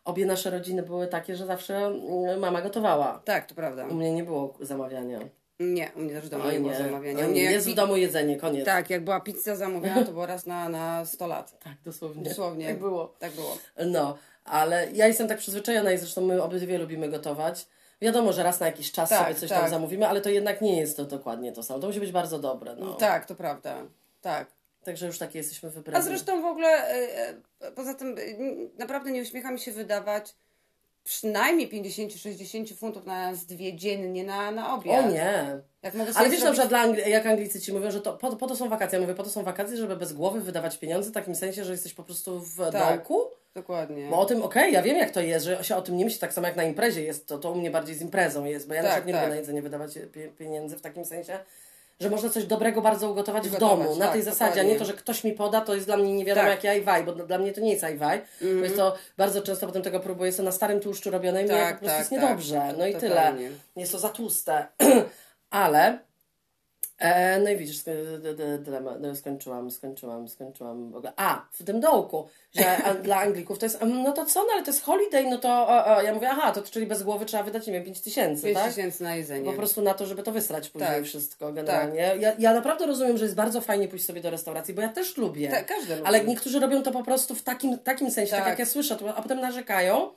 S2: obie nasze rodziny były takie, że zawsze mm, mama gotowała.
S1: Tak, to prawda.
S2: U mnie nie było zamawiania.
S1: Nie, u mnie też w domu
S2: Oj,
S1: nie było
S2: nie.
S1: zamawiania.
S2: Oj,
S1: U mnie
S2: nie.
S1: jak
S2: Jest w
S1: pi-
S2: domu jedzenie, koniec.
S1: Tak, jak była pizza zamówiona, to było raz na, na 100 lat.
S2: tak dosłownie.
S1: Dosłownie.
S2: Tak było.
S1: Tak było.
S2: No, ale ja jestem tak przyzwyczajona i zresztą my obydwie lubimy gotować. Wiadomo, że raz na jakiś czas
S1: Tak,
S2: sobie coś tam
S1: tak.
S2: zamówimy, ale to jednak nie jest to dokładnie to samo. To musi być bardzo dobre. No.
S1: Tak, to prawda. Tak.
S2: Także już takie jesteśmy wybrani.
S1: A zresztą w ogóle, y, y, poza tym, y, naprawdę nie uśmiecha mi się wydawać przynajmniej 50-60 funtów na nas dwie dziennie na, na
S2: O
S1: obiad.
S2: nie.
S1: Jak mogę sobie
S2: Ale wiesz, na
S1: zrobić...
S2: przykład dla Angli- jak Anglicy ci mówią, że to, po, po to są wakacje. Ja mówię, po to są wakacje, żeby bez głowy wydawać pieniądze w takim sensie, że jesteś po prostu w
S1: Tak.
S2: dołku.
S1: Dokładnie.
S2: Bo o tym, okej, ja wiem jak to jest, że się o tym nie myśli tak samo jak na imprezie jest, to, to u mnie bardziej z imprezą jest, bo ja na
S1: Tak,
S2: przykład nie
S1: tak.
S2: lubię na jedzenie wydawać pie- pieniędzy w takim sensie, że można coś dobrego bardzo ugotować w
S1: Ugotować,
S2: domu, na
S1: tak,
S2: tej zasadzie, a nie
S1: dokładnie.
S2: to, że ktoś mi poda, to jest dla mnie nie wiadomo
S1: Tak. Mhm.
S2: jak jajwaj, bo dla- dla mnie to nie jest jajwaj, bo jest to, bardzo często potem tego próbuję, jest to na starym tłuszczu robione i tak, mnie
S1: Tak,
S2: po prostu
S1: tak,
S2: jest
S1: tak.
S2: niedobrze, no i
S1: Totalnie.
S2: tyle, jest to za tłuste, ale... E, no i widzisz, sk- d- d- dylemat. No, skończyłam, skończyłam, skończyłam w ogóle. A, w tym dołku, że a, dla Anglików to jest, mm, no to co, no ale to jest holiday, no to o, o, ja mówię, aha, to czyli bez głowy trzeba wydać, nie wiem, 5 tysięcy,
S1: 5
S2: tak?
S1: tysięcy na jedzenie.
S2: Po prostu na to, żeby to wysrać później
S1: Tak.
S2: wszystko generalnie. Ja, ja naprawdę rozumiem, że jest bardzo fajnie pójść sobie do restauracji, bo ja też lubię.
S1: Tak, każdy lubi.
S2: Ale niektórzy robią to po prostu w takim, takim sensie, tak,
S1: Tak.
S2: jak ja słyszę, to, a potem narzekają,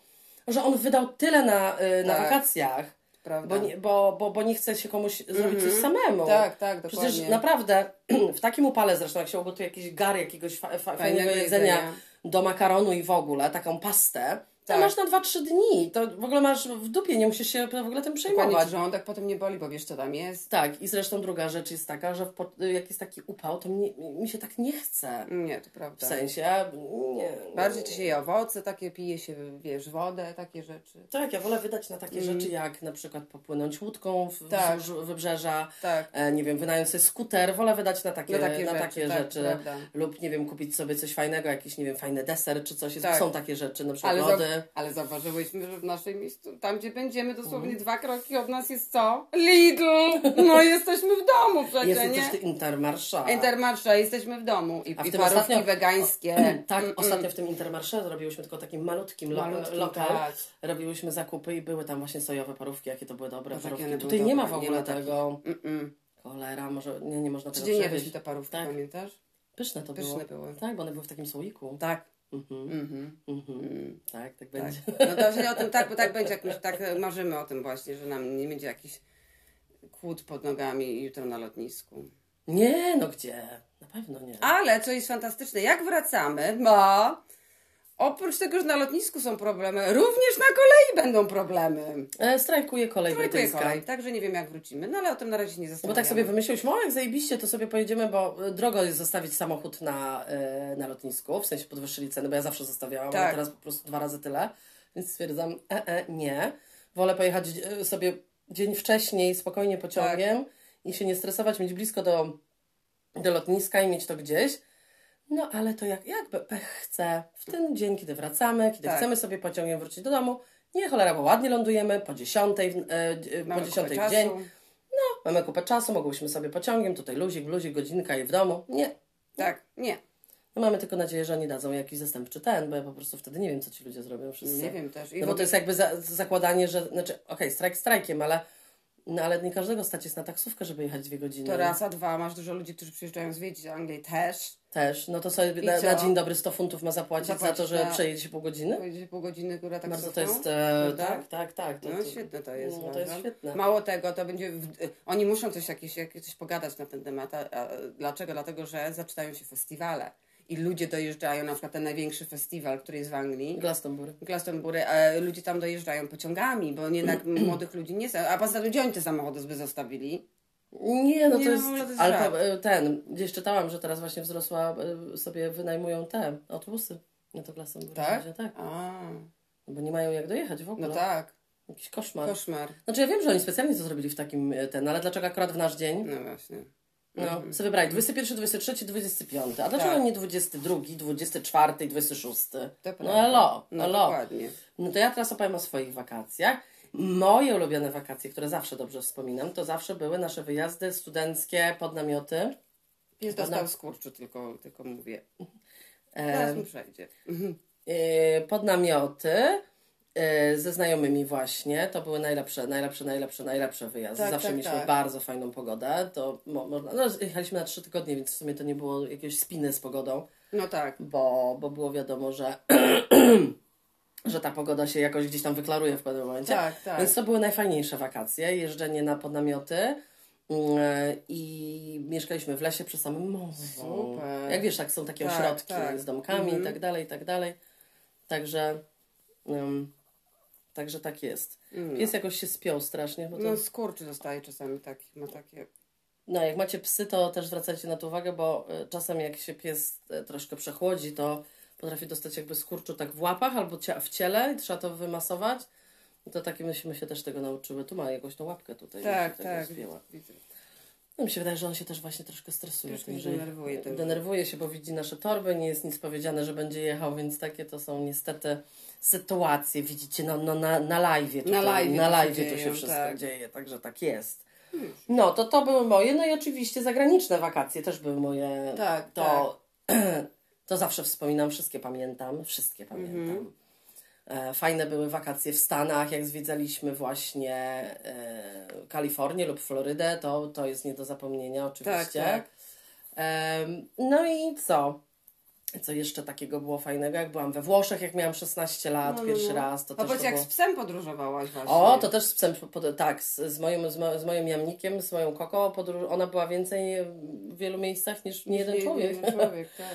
S2: że on wydał tyle na, y, na
S1: Tak.
S2: wakacjach.
S1: Prawda.
S2: Bo nie, bo, bo, bo nie chce się komuś zrobić coś samemu.
S1: Tak, tak, dokładnie.
S2: Przecież naprawdę w takim upale zresztą, jak się ugotuje jakiś gar jakiegoś fa- fa- fajnego jedzenia
S1: jedzenia. Tak.
S2: do makaronu i w ogóle, taką pastę, To masz na 2-3 dni. To w ogóle masz w dupie, nie musisz się w ogóle tym
S1: Dokładnie
S2: przejmować.
S1: ci żołądek potem nie boli, bo wiesz co tam jest.
S2: Tak, i zresztą druga rzecz jest taka, że w po, jak jest taki upał, to mnie, mi się tak nie chce.
S1: Nie, to
S2: W
S1: prawda.
S2: sensie, ja- nie.
S1: Bardziej ci się je owoce, takie pije się, wiesz, wodę, takie rzeczy.
S2: Tak, ja wolę wydać na takie rzeczy jak na przykład popłynąć łódką w,
S1: Mm. Tak.
S2: wzdłuż wybrzeża,
S1: Tak.
S2: e, nie wiem, wynająć sobie skuter, wolę wydać na takie,
S1: Na takie rzeczy, tak,
S2: rzeczy.
S1: prawda.
S2: lub nie wiem, kupić sobie coś fajnego, jakiś, nie wiem, fajny deser czy coś.
S1: Tak.
S2: Są takie rzeczy, na przykład
S1: Ale,
S2: lody.
S1: zau- ale zauważyłyśmy, że w naszej miejscu, tam gdzie będziemy,
S2: Mhm.
S1: dosłownie dwa kroki od nas jest co? Lidl! No jesteśmy w domu przecież,
S2: Jest
S1: nie?
S2: też Intermarsza.
S1: Intermarché, jesteśmy w domu i,
S2: A w
S1: i
S2: tym
S1: parówki
S2: ostatnio-
S1: wegańskie.
S2: Tak, ostatnio w tym Intermarsze zrobiłyśmy tylko takim malutkim, lo-
S1: Malutki
S2: lokal.
S1: mm. tak.
S2: Robiłyśmy zakupy i były tam właśnie sojowe parówki, jakie to były dobre
S1: No, takie
S2: parówki.
S1: one były
S2: Tutaj nie ma w
S1: dobre, nie
S2: ogóle
S1: ma takich.
S2: tego.
S1: Mm-mm.
S2: Cholera, może nie, nie można tego
S1: Codziennie
S2: przebyć.
S1: jadłyśmy te parówki,
S2: Tak.
S1: pamiętasz?
S2: Pyszne to
S1: Pyszne
S2: było.
S1: były.
S2: Tak, bo one były w takim słoiku.
S1: Tak.
S2: Mhm,
S1: Mhm.
S2: mhm.
S1: Mm.
S2: Tak, tak
S1: Tak.
S2: będzie.
S1: No to właśnie o tym tak, bo tak będzie, jak my się tak marzymy o tym właśnie, że nam nie będzie jakiś kłód pod nogami jutro na lotnisku.
S2: Nie, no gdzie? Na pewno nie.
S1: Ale co jest fantastyczne, jak wracamy, ma oprócz tego, że na lotnisku są problemy, również na kolei będą problemy.
S2: E, strajkuje kolej
S1: Brakuje
S2: brytyjska.
S1: kolej, także nie wiem jak wrócimy, no ale o tym na razie nie
S2: No Bo
S1: zastanawiamy.
S2: tak sobie wymyśliłyśmy, o jak zajebiście, to sobie pojedziemy, bo y, drogo jest zostawić samochód na, y, na lotnisku, w sensie podwyższyli ceny, bo ja zawsze zostawiałam,
S1: Tak.
S2: a teraz po prostu dwa razy tyle, więc stwierdzam, e, e, nie, wolę pojechać y, sobie dzień wcześniej spokojnie pociągiem
S1: Tak.
S2: i się nie stresować, mieć blisko do, do lotniska i mieć to gdzieś. No ale to jak, jakby pech chce, w ten dzień, kiedy wracamy, kiedy
S1: Tak.
S2: chcemy sobie pociągiem wrócić do domu, nie cholera, bo ładnie lądujemy, po dziesiątej, w- y, y,
S1: Mamy
S2: po
S1: kupę
S2: dziesiątej w
S1: czasu.
S2: dzień, Mamy kupę czasu, mogłyśmy sobie pociągiem, tutaj luzik, luzik, godzinka i w domu. Nie.
S1: Tak, nie,
S2: No mamy tylko nadzieję, że oni dadzą jakiś zastępczy ten, bo ja po prostu wtedy nie wiem, co ci ludzie zrobią wszyscy.
S1: nie wiem też. I
S2: No bo
S1: w ogóle-
S2: to jest jakby za, zakładanie, że, znaczy, okej, strajk strajkiem, ale, no, ale nie każdego stać jest na taksówkę, żeby jechać dwie godziny.
S1: to raz, a dwa, masz dużo ludzi, którzy przyjeżdżają zwiedzić Anglię też.
S2: Też, no to sobie
S1: I
S2: na,
S1: co?
S2: na dzień dobry 100 funtów ma zapłacić
S1: Zapłacić
S2: za to, że
S1: na-
S2: przejedzie się pół godziny?
S1: Pojedzie pół godziny, która tak
S2: Bardzo No to
S1: cofną.
S2: jest, e,
S1: Prawda?
S2: tak, tak, tak. To,
S1: No
S2: to,
S1: świetne to jest.
S2: No, to
S1: uważam.
S2: jest świetne.
S1: Mało tego, to będzie. W, y, oni muszą coś jakieś, jakieś coś pogadać na ten temat. A, a, dlaczego? Dlatego, że zaczynają się festiwale i ludzie dojeżdżają, na przykład ten największy festiwal, który jest w Anglii.
S2: Glastonbury.
S1: Glastonbury, e, ludzie tam dojeżdżają pociągami, bo jednak młodych ludzi nie są. A poza tym, gdzie oni te samochody by zostawili?
S2: Nie, no
S1: Nie,
S2: to
S1: no
S2: jest.
S1: w ogóle to jest
S2: ale
S1: żart.
S2: to, y, ten, gdzieś czytałam, że teraz właśnie wzrosła, y, sobie wynajmują te autobusy. No to klasą
S1: Tak?
S2: tak.
S1: A,
S2: No Bo nie mają jak dojechać w ogóle.
S1: no tak,
S2: Jakiś koszmar.
S1: koszmar.
S2: Znaczy ja wiem, że oni specjalnie to zrobili w takim y, ten, ale dlaczego akurat w nasz dzień?
S1: No właśnie.
S2: No, sobie wybrali 21, 23, 25. A dlaczego
S1: Mhm. Tak.
S2: nie 22, 24, 26?
S1: To
S2: no
S1: prawda.
S2: elo,
S1: No
S2: elo.
S1: dokładnie.
S2: No to ja teraz opowiem o swoich wakacjach. Moje ulubione wakacje, które zawsze dobrze wspominam, to zawsze były nasze wyjazdy studenckie pod namioty.
S1: Pies
S2: Ona-
S1: dostał skurczu, tylko, tylko mówię.
S2: E,
S1: Teraz mu przejdzie.
S2: e, pod namioty e, ze znajomymi właśnie. To były najlepsze, najlepsze, najlepsze, najlepsze wyjazdy.
S1: Tak,
S2: Zawsze
S1: tak,
S2: mieliśmy
S1: tak.
S2: bardzo fajną pogodę. To mo, można, no, jechaliśmy na trzy tygodnie, więc w sumie to nie było jakieś spiny z pogodą,
S1: No tak.
S2: bo, bo było wiadomo, że, że ta pogoda się jakoś gdzieś tam wyklaruje w pewnym momencie.
S1: Tak, tak.
S2: Więc to były najfajniejsze wakacje, jeżdżenie na podnamioty mm, i mieszkaliśmy w lesie przy samym morzu.
S1: Super.
S2: Jak wiesz, tak są takie
S1: Tak,
S2: ośrodki
S1: tak.
S2: z domkami
S1: Mhm.
S2: i tak dalej, i tak dalej. Także, em, także tak jest.
S1: Mm.
S2: Pies jakoś się spiął strasznie, bo to,
S1: No skurczy zostaje czasami taki, ma takie...
S2: no jak macie psy, to też zwracajcie na to uwagę, bo e, czasem jak się pies e, troszkę przechłodzi, to potrafi dostać jakby skurczu tak w łapach albo cia- w ciele i trzeba to wymasować. No To takie myśmy się też tego nauczyły. Tu ma jakąś tą łapkę tutaj.
S1: Tak,
S2: mi się
S1: tak.
S2: rozwięła.
S1: Widzę.
S2: No mi się wydaje, że on się też właśnie troszkę stresuje.
S1: Troszkę
S2: tym,
S1: się
S2: że
S1: denerwuje tym.
S2: Denerwuje się, bo widzi nasze torby, nie jest nic powiedziane, że będzie jechał, więc takie to są niestety sytuacje. Widzicie, no, no, na, na live
S1: Na live'ie
S2: na
S1: to się
S2: live to
S1: dzieją,
S2: się wszystko
S1: tak. Hmm.
S2: dzieje, także tak jest. No, to to były moje, no i oczywiście zagraniczne wakacje też były moje.
S1: Tak,
S2: To, to zawsze wspominam, wszystkie pamiętam, wszystkie pamiętam.
S1: Mhm.
S2: E, Fajne były wakacje w Stanach, jak zwiedzaliśmy właśnie e, Kalifornię lub Florydę, to, to jest nie do zapomnienia
S1: Tak,
S2: oczywiście.
S1: tak.
S2: Em, no i co? Co jeszcze takiego było fajnego? Jak byłam we Włoszech, jak miałam 16 lat
S1: No, no,
S2: pierwszy
S1: no.
S2: raz, to
S1: A
S2: też
S1: powiedz,
S2: to
S1: jak
S2: było...
S1: z psem podróżowałaś właśnie.
S2: O, to też z psem, pod, tak, z, z, moim, z, mo, z moim jamnikiem, z moją koko, podróż, ona była więcej w wielu miejscach niż nie jeden
S1: Nie,
S2: człowiek.
S1: Jeden człowiek, tak.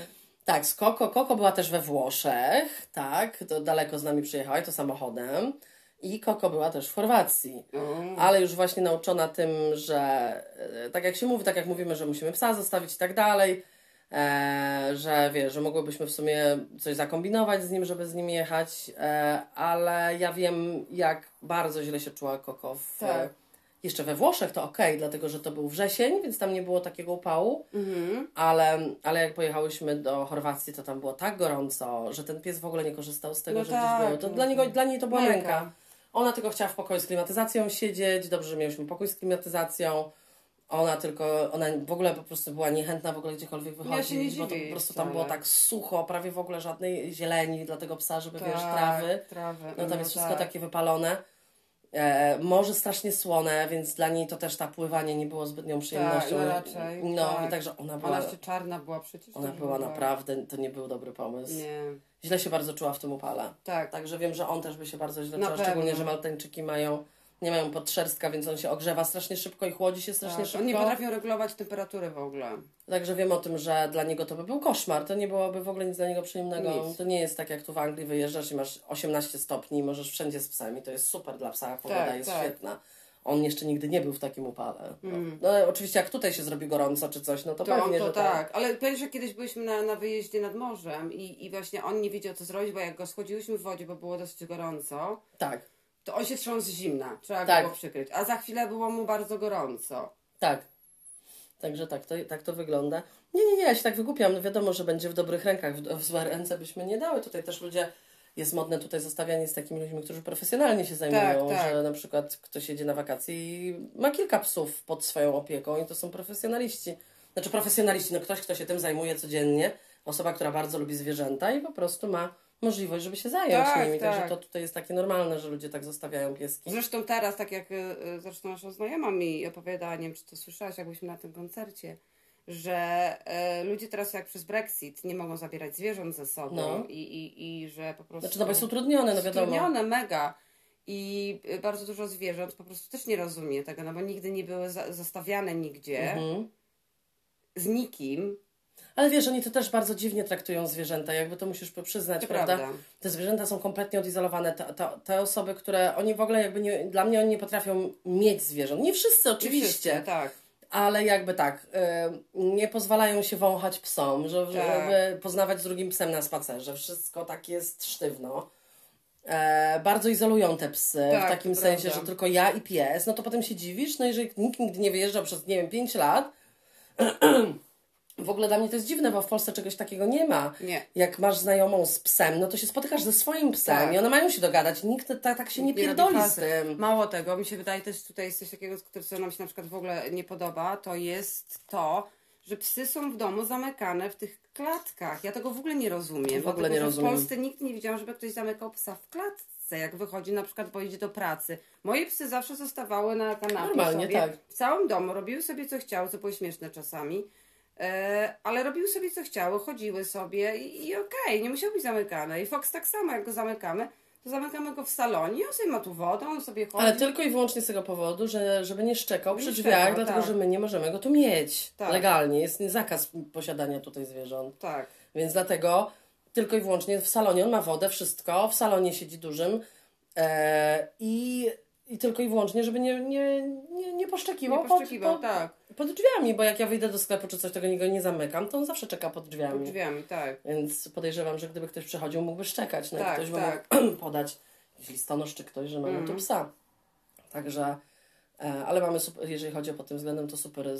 S2: Tak, z Coco. Coco była też we Włoszech, tak, to daleko z nami przyjechała i to samochodem. I Coco była też w Chorwacji.
S1: Mm.
S2: Ale już właśnie nauczona tym, że e, tak jak się mówi, tak jak mówimy, że musimy psa zostawić i tak dalej, e, że wiesz, że mogłybyśmy w sumie coś zakombinować z nim, żeby z nim jechać, e, ale ja wiem, jak bardzo źle się czuła Coco w,
S1: Tak.
S2: jeszcze we Włoszech, to okej, dlatego że to był wrzesień, więc tam nie było takiego upału,
S1: Mhm.
S2: ale, ale jak pojechałyśmy do Chorwacji, to tam było tak gorąco, że ten pies w ogóle nie korzystał z tego,
S1: No
S2: że
S1: tak,
S2: gdzieś był. To
S1: no
S2: dla, niego, dla niej to była
S1: Męka.
S2: męka. Ona tylko chciała w pokoju z klimatyzacją siedzieć, dobrze, że mieliśmy pokój z klimatyzacją. Ona tylko, ona w ogóle po prostu była niechętna w ogóle gdziekolwiek
S1: nie
S2: wychodzić, bo to
S1: dziwię
S2: po prostu tam
S1: wcale.
S2: było tak sucho, prawie w ogóle żadnej zieleni dla tego psa, żeby wiesz,
S1: Tak,
S2: trawy.
S1: trawy.
S2: No tam jest wszystko
S1: tak.
S2: takie wypalone. E, morze strasznie słone, więc dla niej to też ta pływanie nie było zbytnią przyjemnością.
S1: no raczej,
S2: No,
S1: tak.
S2: także ona była,
S1: Ona
S2: ona,
S1: jeszcze czarna była przecież. to
S2: była
S1: była.
S2: naprawdę, to nie był dobry pomysł.
S1: Nie,
S2: Źle się bardzo czuła w tym upale.
S1: tak.
S2: Także wiem, że on też by się bardzo źle
S1: Na
S2: czuł,
S1: pewno.
S2: szczególnie, że Maltańczyki mają, nie mają podszerstka, więc on się ogrzewa strasznie szybko i chłodzi się strasznie
S1: tak.
S2: szybko.
S1: Oni nie potrafią regulować temperatury w ogóle.
S2: Także wiem o tym, że dla niego to by był koszmar. To nie byłoby w ogóle nic dla niego przyjemnego.
S1: Nic.
S2: To nie jest tak, jak tu w Anglii wyjeżdżasz i masz 18 stopni i możesz wszędzie z psami. To jest super dla psa, pogoda
S1: Tak,
S2: jest
S1: tak.
S2: świetna. On jeszcze nigdy nie był w takim upale.
S1: Mm.
S2: No, no oczywiście jak tutaj się zrobi gorąco czy coś, no to,
S1: To,
S2: pewnie,
S1: to
S2: że
S1: tak.
S2: tak.
S1: ale pamiętasz, że kiedyś byliśmy na, na wyjeździe nad morzem i, i właśnie on nie wiedział co zrobić, bo jak go schodziłyśmy w wodzie, bo było dosyć gorąco,
S2: Tak,
S1: to on się trząsł z zimna, trzeba
S2: Tak.
S1: było przykryć, a za chwilę było mu bardzo gorąco.
S2: tak. Także tak to, tak to wygląda. Nie, nie, nie, ja się tak wygłupiam. No wiadomo, że będzie w dobrych rękach. W, w złe ręce byśmy nie dały. Tutaj też ludzie... Jest modne tutaj zostawianie z takimi ludźmi, którzy profesjonalnie się zajmują,
S1: tak.
S2: że na przykład ktoś jedzie na wakacje i ma kilka psów pod swoją opieką i to są profesjonaliści. Znaczy profesjonaliści, no ktoś, kto się tym zajmuje codziennie, osoba, która bardzo lubi zwierzęta i po prostu ma możliwość, żeby się zająć
S1: Tak,
S2: nimi.
S1: tak.
S2: Także to tutaj jest takie normalne, że ludzie tak zostawiają pieski.
S1: Zresztą teraz, tak jak y, y, zresztą nasza znajoma mi opowiadała, nie wiem czy to słyszałaś, jak byliśmy na tym koncercie, że y, ludzie teraz jak przez Brexit nie mogą zabierać zwierząt ze sobą
S2: No.
S1: i, i, i że po prostu...
S2: Znaczy to jest utrudnione, no wiadomo.
S1: Strunione mega. I y, bardzo dużo zwierząt po prostu też nie rozumie tego, no bo nigdy nie były za- zostawiane nigdzie
S2: Mhm.
S1: z nikim.
S2: Ale wiesz, oni to też bardzo dziwnie traktują zwierzęta, jakby to musisz przyznać,
S1: To
S2: prawda?
S1: prawda.
S2: Te zwierzęta są kompletnie odizolowane. Te, te, te osoby, które oni w ogóle jakby nie, dla mnie oni nie potrafią mieć zwierząt. Nie wszyscy oczywiście,
S1: Wszyscy, tak.
S2: ale jakby tak, y, nie pozwalają się wąchać psom, że-
S1: Tak.
S2: żeby poznawać z drugim psem na spacerze. Wszystko tak jest sztywno. E, bardzo izolują te psy,
S1: Tak,
S2: w takim
S1: to
S2: sensie,
S1: prawda.
S2: że tylko ja i pies, no to potem się dziwisz, no jeżeli nikt nigdy nie wyjeżdżał przez, nie wiem, 5 lat, w ogóle dla mnie to jest dziwne, bo w Polsce czegoś takiego nie ma
S1: Nie.
S2: jak masz znajomą z psem, no to się spotykasz ze swoim psem
S1: Tak.
S2: i one mają się dogadać. Nikt ta, tak się nie,
S1: Nie robi
S2: pierdoli z
S1: fazy.
S2: tym.
S1: Mało tego, mi się wydaje też tutaj jest coś takiego, co nam się na przykład w ogóle nie podoba, to jest to, że psy są w domu zamykane w tych klatkach. Ja tego w ogóle nie rozumiem.
S2: W ogóle
S1: dlatego,
S2: nie
S1: że
S2: rozumiem.
S1: W Polsce nigdy nie widziałam, żeby ktoś zamykał psa w klatce, jak wychodzi na przykład, bo idzie do pracy. Moje psy zawsze zostawały na kanapie
S2: Normalnie,
S1: sobie,
S2: tak.
S1: w całym domu, robiły sobie co chciały, co było śmieszne czasami. E, ale robiły sobie co chciały, chodziły sobie i, i okej, nie musiał być zamykane. I Fox tak samo, jak go zamykamy, to zamykamy go w salonie, on sobie ma tu wodę, on sobie chodzi.
S2: Ale tylko i wyłącznie z tego powodu, że, żeby nie szczekał
S1: Nie
S2: przy
S1: szczekał,
S2: drzwiach, dlatego
S1: tak.
S2: że my nie możemy go tu mieć
S1: Tak.
S2: legalnie. Jest zakaz posiadania tutaj zwierząt.
S1: Tak,
S2: Więc dlatego tylko i wyłącznie w salonie on ma wodę, wszystko, w salonie siedzi dużym e, i, i tylko i wyłącznie, żeby nie, nie, nie, nie poszczekiwał,
S1: nie poszczekiwał,
S2: pod, pod,
S1: tak,
S2: pod drzwiami, bo jak ja wyjdę do sklepu czy coś, tego go nie zamykam, to on zawsze czeka pod drzwiami.
S1: pod drzwiami, tak.
S2: Więc podejrzewam, że gdyby ktoś przychodził, mógłby szczekać. No
S1: Tak,
S2: i ktoś by
S1: tak.
S2: mógł podać jakiś listonosz czy ktoś, że mamy
S1: Mhm.
S2: tu psa. Także, e, ale mamy, super, jeżeli chodzi o pod tym względem, to super e,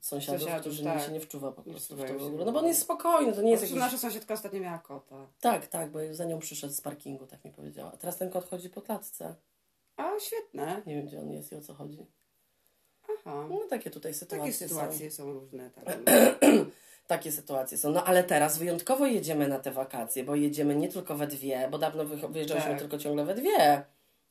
S2: sąsiadów,
S1: Sąsiadów,
S2: którzy
S1: tak.
S2: nikt się nie wczuwa po prostu w
S1: wczuwają
S2: to w
S1: się.
S2: ogóle. No bo on jest spokojny, to nie jest
S1: Zresztą
S2: jakiś...
S1: nasza sąsiadka ostatnio miała kota.
S2: Tak, tak, bo za nią przyszedł z parkingu, tak mi powiedziała. Teraz ten kot chodzi po klatce.
S1: A, świetne.
S2: Nie wiem, gdzie on jest i o co chodzi.
S1: Aha.
S2: No takie tutaj sytuacje
S1: Takie
S2: są.
S1: sytuacje są różne. Tak.
S2: Takie sytuacje są. No ale teraz wyjątkowo jedziemy na te wakacje, bo jedziemy nie tylko we dwie, bo dawno wycho- wyjeżdżaliśmy
S1: Tak.
S2: tylko ciągle we dwie.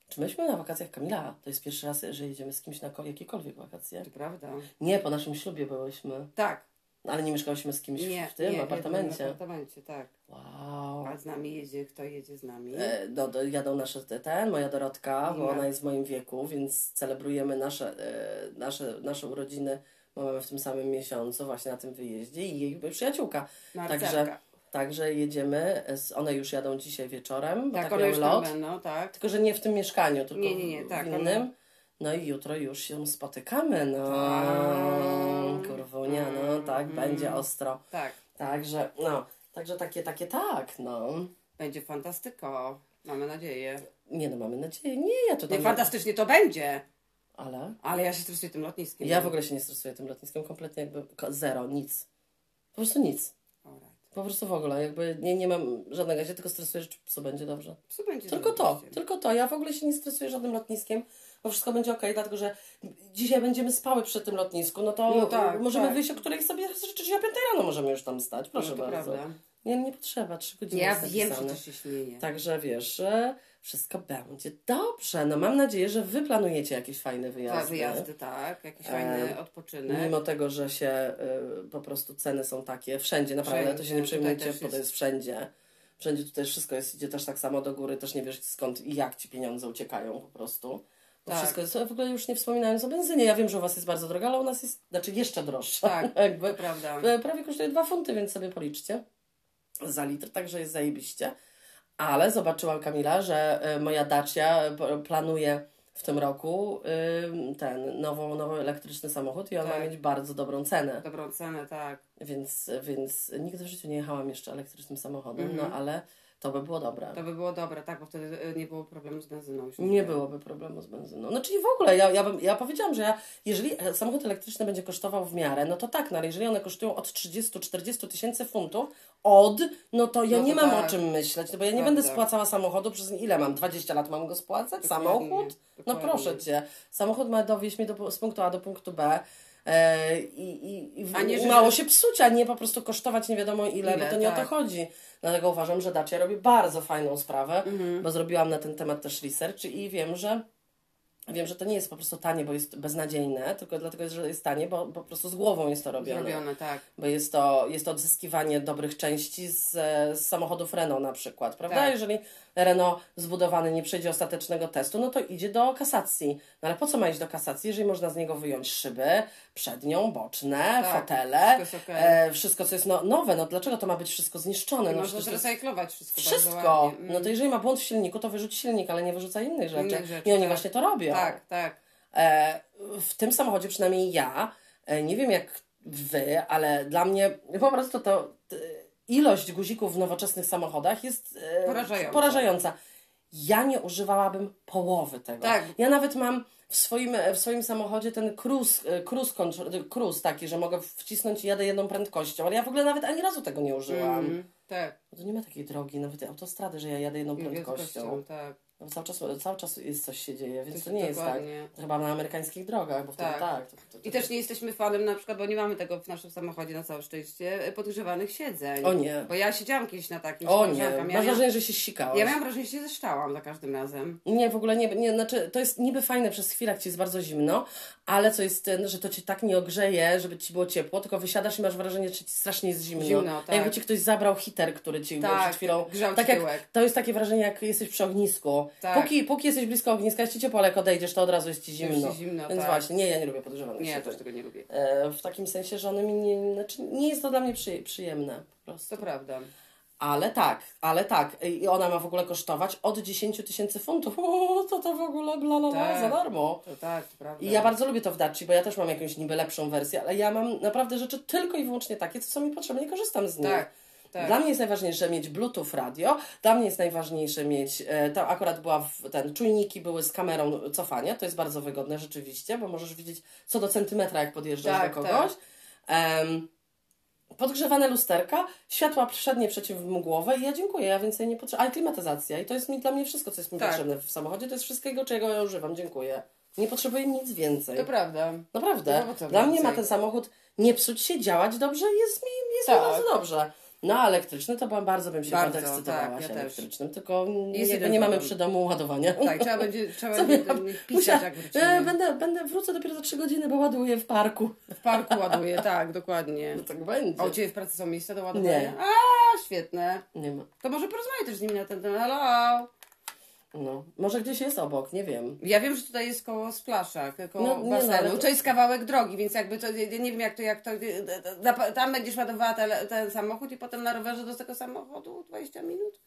S2: Czy myśmy na wakacjach Kamila? To jest pierwszy raz, że jedziemy z kimś na ko- jakiekolwiek wakacje.
S1: To prawda?
S2: Nie, po naszym ślubie byłyśmy,
S1: Tak.
S2: No, ale nie mieszkałyśmy z kimś
S1: Nie,
S2: w tym
S1: nie, nie,
S2: apartamencie.
S1: W apartamencie, tak.
S2: Wow.
S1: A z nami jedzie, kto jedzie z nami?
S2: E, No, do, jadą nasze te, ten, moja Dorotka, bo
S1: Mhm.
S2: ona jest w moim wieku, więc celebrujemy nasze, e, nasze, nasze urodziny. bo Mamy w tym samym miesiącu, właśnie na tym wyjeździe i jej przyjaciółka.
S1: Marcelka. Tak,
S2: także- Także jedziemy, z- one już jadą dzisiaj wieczorem, bo
S1: Tak,
S2: tak
S1: one
S2: miały
S1: już tam
S2: lot.
S1: będą, tak.
S2: Tylko, że nie w tym mieszkaniu, tylko
S1: Nie, nie, nie, tak,
S2: w
S1: one-
S2: innym. No i jutro już się spotykamy, no.
S1: Tak.
S2: Kurwunia, no tak,
S1: Mm.
S2: będzie ostro.
S1: Tak.
S2: Także, no, także takie, takie tak, no.
S1: Będzie fantastyko. Mamy nadzieję.
S2: Nie no, mamy nadzieję, nie, ja to
S1: Nie,
S2: tam...
S1: fantastycznie to będzie.
S2: Ale?
S1: Ale ja się stresuję tym lotniskiem.
S2: Ja w ogóle się nie stresuję tym lotniskiem, kompletnie jakby ko- zero, nic. Po prostu nic.
S1: Alright.
S2: Po prostu w ogóle, jakby nie, nie mam żadnego, ja się tylko stresuję, że czy psu będzie dobrze.
S1: Co będzie
S2: Tylko
S1: za
S2: to,
S1: gościem?
S2: tylko to. Ja w ogóle się nie stresuję żadnym lotniskiem, bo wszystko będzie okej, dlatego że dzisiaj będziemy spały przy tym lotnisku, no to
S1: No tak,
S2: możemy
S1: tak.
S2: wyjść o której sobie rzeczywiście o 5 rano możemy już tam stać, proszę
S1: no, to
S2: bardzo.
S1: Prawda.
S2: Nie, nie potrzeba, 3 godziny
S1: Ja
S2: jest
S1: wiem, że
S2: napisane. Tak,
S1: to się śmieje.
S2: Także wiesz, że wszystko będzie dobrze. No mam nadzieję, że wy planujecie jakieś fajne wyjazdy.
S1: Tak, wyjazdy, tak. Jakiś fajny odpoczynek.
S2: E, Mimo tego, że się y, po prostu ceny są takie wszędzie, naprawdę
S1: Wszędzie,
S2: to się nie
S1: tutaj
S2: przejmujcie,
S1: też
S2: bo to
S1: jest.
S2: jest wszędzie. Wszędzie tutaj wszystko jest, idzie też tak samo do góry, też nie wiesz skąd i jak ci pieniądze uciekają po prostu. Bo
S1: Tak.
S2: wszystko jest, w ogóle już nie wspominając o benzynie. Ja wiem, że u Was jest bardzo droga, ale u nas jest, znaczy jeszcze droższa.
S1: Tak,
S2: Jakby,
S1: to prawda.
S2: E, prawie kosztuje 2 funty, więc sobie policzcie za litr, także jest zajebiście. Ale zobaczyłam Kamila, że e, moja Dacia e, p- planuje w tym roku ym, ten nową, nowy elektryczny samochód i on ma
S1: Tak.
S2: mieć bardzo dobrą cenę.
S1: Dobrą cenę, tak.
S2: Więc, więc nigdy w życiu nie jechałam jeszcze elektrycznym samochodem,
S1: Mhm.
S2: no ale to by było dobre.
S1: To by było dobre, tak, bo wtedy e, nie było problemu z benzyną. już
S2: Nie byłoby problemu z benzyną. No czyli w ogóle, ja, ja, bym, ja powiedziałam, że ja, jeżeli e, samochód elektryczny będzie kosztował w miarę, no to tak, no ale jeżeli one kosztują od 30-40 tysięcy funtów, od, no to ja
S1: No to
S2: nie mam
S1: tak.
S2: o czym myśleć, no bo ja nie
S1: Prawda.
S2: będę spłacała samochodu przez ile mam? 20 lat mam go spłacać?
S1: Dokładnie,
S2: Samochód? No
S1: dokładnie.
S2: proszę Cię, samochód ma dowieźć mnie do, z punktu A do punktu B. e, I, i, i w-
S1: A nie, że-
S2: mało się psuć, a nie po prostu kosztować nie wiadomo ile,
S1: Ile,
S2: bo to nie o
S1: tak.
S2: to chodzi. Dlatego uważam, że Dacia robi bardzo fajną sprawę,
S1: Mhm.
S2: bo zrobiłam na ten temat też research i wiem, że wiem, że to nie jest po prostu tanie, bo jest beznadziejne, tylko dlatego, że jest tanie, bo po prostu z głową jest to robione.
S1: Zrobione, tak.
S2: Bo jest to, jest to odzyskiwanie dobrych części z, e, z samochodów Renault na przykład, prawda?
S1: Tak.
S2: Jeżeli Renault zbudowany nie przejdzie ostatecznego testu, no to idzie do kasacji. No ale po co ma iść do kasacji, jeżeli można z niego wyjąć szyby, przednią, boczne,
S1: Tak,
S2: E, fotele,
S1: To jest okej.
S2: e, wszystko co jest no, nowe, no dlaczego to ma być wszystko zniszczone?
S1: I
S2: No,
S1: można
S2: przecież to jest
S1: zrecyklować wszystko. Bardzo
S2: wszystko.
S1: ładnie. Mm. Mhm.
S2: No to jeżeli ma błąd w silniku, to wyrzuć silnik, ale nie wyrzuca innych rzeczy.
S1: Innych rzeczy,
S2: I oni
S1: tak.
S2: właśnie to robią.
S1: Tak, tak.
S2: E, w tym samochodzie, przynajmniej ja, e, nie wiem jak wy, ale dla mnie po prostu to t, ilość guzików w nowoczesnych samochodach jest e,
S1: Porażająca.
S2: porażająca. Ja nie używałabym połowy tego.
S1: Tak.
S2: Ja nawet mam w swoim, e, w swoim samochodzie ten cruise, e, cruise, control, cruise taki, że mogę wcisnąć i jadę jedną prędkością, ale ja w ogóle nawet ani razu tego nie użyłam.
S1: Mhm. Tak.
S2: No to nie ma takiej drogi, nawet autostrady, że ja jadę jedną
S1: I
S2: prędkością.
S1: wielkością, tak.
S2: No, cały, czas, cały czas jest coś się dzieje, więc
S1: jest
S2: to nie jest tak.
S1: dokładnie.
S2: Chyba na amerykańskich drogach, bo wtedy tak.
S1: Tak.
S2: to, to, to,
S1: I też nie jesteśmy fanem, na przykład, bo nie mamy tego w naszym samochodzie na całe szczęście, e, podgrzewanych siedzeń.
S2: O nie.
S1: Bo ja siedziałam kiedyś na takim z
S2: O nie,
S1: koleżanką.
S2: masz
S1: Ja, miałam-
S2: wrażenie, że się sikałeś.
S1: ja miałam wrażenie, że się zeszczałam za każdym razem.
S2: Nie, w ogóle nie, nie, znaczy to jest niby fajne przez chwilę, jak ci jest bardzo zimno, ale co jest ten, że to cię tak nie ogrzeje, żeby ci było ciepło, tylko wysiadasz i masz wrażenie, że ci strasznie jest zimno.
S1: Zimno, tak.
S2: Jakby ci ktoś zabrał hiter, który ci
S1: Tak,
S2: przed chwilą...
S1: grzał
S2: tak
S1: ci
S2: jak,
S1: tyłek.
S2: To jest takie wrażenie, jak jesteś przy ognisku.
S1: Tak.
S2: Póki, póki jesteś blisko ogniska, jest ci ciepło, ale jak odejdziesz, to od razu jest ci zimno.
S1: Jest ci zimno,
S2: Więc
S1: tak.
S2: właśnie, nie, ja nie lubię podgrzewanych
S1: Nie, ja
S2: siedzeń.
S1: też tego nie lubię.
S2: E, W takim sensie, że one mi nie, znaczy nie jest to dla mnie przyje- przyjemne po prostu.
S1: To prawda.
S2: Ale tak, ale tak. I ona ma w ogóle kosztować od 10 tysięcy funtów. O, to to w ogóle bla, bla, bla,
S1: Tak.
S2: za darmo.
S1: To tak, to prawda.
S2: I ja bardzo lubię to w Daci, bo ja też mam jakąś niby lepszą wersję, ale ja mam naprawdę rzeczy tylko i wyłącznie takie, co są mi potrzebne i korzystam z nich.
S1: Tak, tak.
S2: Dla mnie jest najważniejsze mieć Bluetooth radio, dla mnie jest najważniejsze mieć, e, tam akurat była w, ten, czujniki były z kamerą cofania, to jest bardzo wygodne rzeczywiście, bo możesz widzieć co do centymetra jak podjeżdżasz
S1: Tak,
S2: do kogoś. Em, podgrzewane lusterka, światła przednie przeciwmgłowe i ja dziękuję, ja więcej nie potrzebuję, ale klimatyzacja i to jest mi, dla mnie wszystko, co jest mi
S1: Tak.
S2: potrzebne w samochodzie, to jest wszystkiego, czego ja używam, dziękuję. Nie potrzebuję nic więcej.
S1: To prawda.
S2: Naprawdę.
S1: No bo co
S2: Dla mnie
S1: więcej?
S2: ma ten samochód nie psuć się, działać dobrze i jest mi jest mi
S1: Tak.
S2: bardzo dobrze. No a elektryczny to byłam bardzo bym się
S1: Bardzo,
S2: bardzo ekscytowała
S1: tak, ja
S2: się
S1: też.
S2: elektrycznym, tylko
S1: Jest
S2: nie,
S1: jeden
S2: nie mamy
S1: problem.
S2: przy domu ładowania.
S1: Tak, trzeba będzie, trzeba
S2: Co
S1: będzie
S2: miałam?
S1: do nich pisać,
S2: Musiałam-
S1: jak
S2: e,
S1: wrócimy.
S2: będę, będę wrócę dopiero za trzy godziny, bo ładuję w parku.
S1: W parku ładuję, tak, dokładnie.
S2: No tak będzie.
S1: A u Ciebie w pracy są miejsca do ładowania?
S2: Nie.
S1: A, świetne.
S2: Nie ma.
S1: To może porozmawiaj też z nimi na ten temat. Halo?
S2: No, może gdzieś jest obok, nie wiem.
S1: Ja wiem, że tutaj jest koło splasza, k- koło
S2: No, nie no,
S1: basenu.
S2: ale to-
S1: to... jest kawałek drogi, więc jakby to, ja nie wiem jak to, jak to, y, na- tam będziesz ładowała te, ten samochód i potem na rowerze do tego samochodu 20 minut?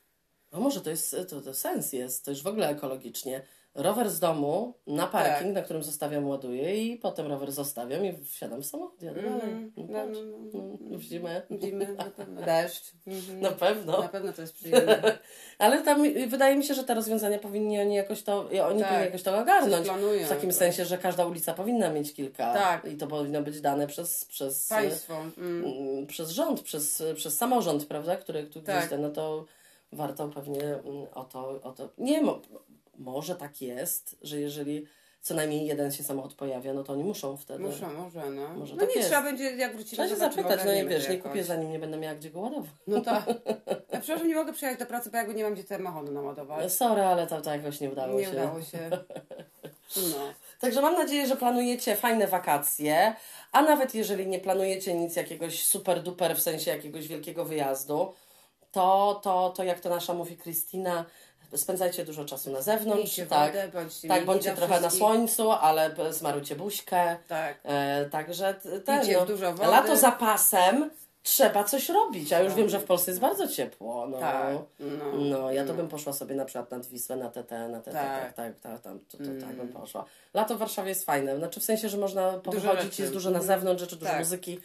S2: A może to jest, to, to sens jest, to już w ogóle ekologicznie. Rower z domu
S1: Tak.
S2: na parking, na którym zostawiam, ładuję i potem rower zostawiam i wsiadam w samochód, jadę dalej.
S1: Mhm.
S2: No,
S1: No,
S2: patrz.
S1: no, no.
S2: No, Widzimy.
S1: Zimy, na pewno. Deszcz. Mhm.
S2: Na
S1: Na
S2: pewno.
S1: pewno to jest przyjemne.
S2: No, Ale tam y, wydaje mi się, że te rozwiązania powinni oni jakoś to, oni
S1: Tak.
S2: powinni jakoś to
S1: Coś
S2: ogarnąć.
S1: planują.
S2: no, W takim sensie, że każda ulica powinna mieć kilka.
S1: Tak.
S2: I to powinno być dane przez, przez, y,
S1: Państwo. Mm.
S2: mm, przez rząd, przez, przez samorząd, prawda, który tu gdzieś
S1: Tak.
S2: ten, no to warto pewnie mm, o to, o to. Nie, mo, może tak jest, że jeżeli co najmniej jeden się samochód pojawia, no to oni muszą wtedy.
S1: Muszę, może, no.
S2: Może
S1: no
S2: tak
S1: nie
S2: jest.
S1: trzeba będzie, jak wrócimy,
S2: Trzeba się
S1: zobaczymy,
S2: zapytać, no i
S1: ogarniemy
S2: wiesz,
S1: to
S2: nie
S1: jakoś.
S2: kupię zanim nie będę miała gdzie go ładować.
S1: No tak. Ja przepraszam, nie mogę przyjechać do pracy, bo ja go nie mam gdzie samochodu naładować.
S2: Sorry, ale to, to jakoś nie udało
S1: Tak. Nie
S2: się.
S1: udało się. No.
S2: Także mam nadzieję, że planujecie fajne wakacje, a nawet jeżeli nie planujecie nic jakiegoś super duper w sensie jakiegoś wielkiego wyjazdu, to, to, to jak to nasza mówi Krystyna, spędzajcie dużo czasu na zewnątrz,
S1: Miejcie
S2: tak,
S1: wodę, bądźcie
S2: tak
S1: mili
S2: bądźcie
S1: dla
S2: trochę na
S1: wszystkich.
S2: słońcu, ale p- zmarujcie buźkę,
S1: Tak.
S2: e, także t- ten, no,
S1: Pijcie dużo wody.
S2: lato zapasem trzeba coś robić, a już wiem, że w Polsce jest bardzo ciepło, no.
S1: Tak. No.
S2: No, ja to bym poszła sobie na przykład nad Wisłę, na TT, na TT, tak,
S1: Tak. Mm.
S2: tak, tak, tam, to, to, tak bym poszła. Lato w Warszawie jest fajne, znaczy w sensie, że można pochodzić,
S1: rzeczy.
S2: jest dużo na
S1: Mhm.
S2: zewnątrz, rzeczy, dużo
S1: Tak.
S2: muzyki.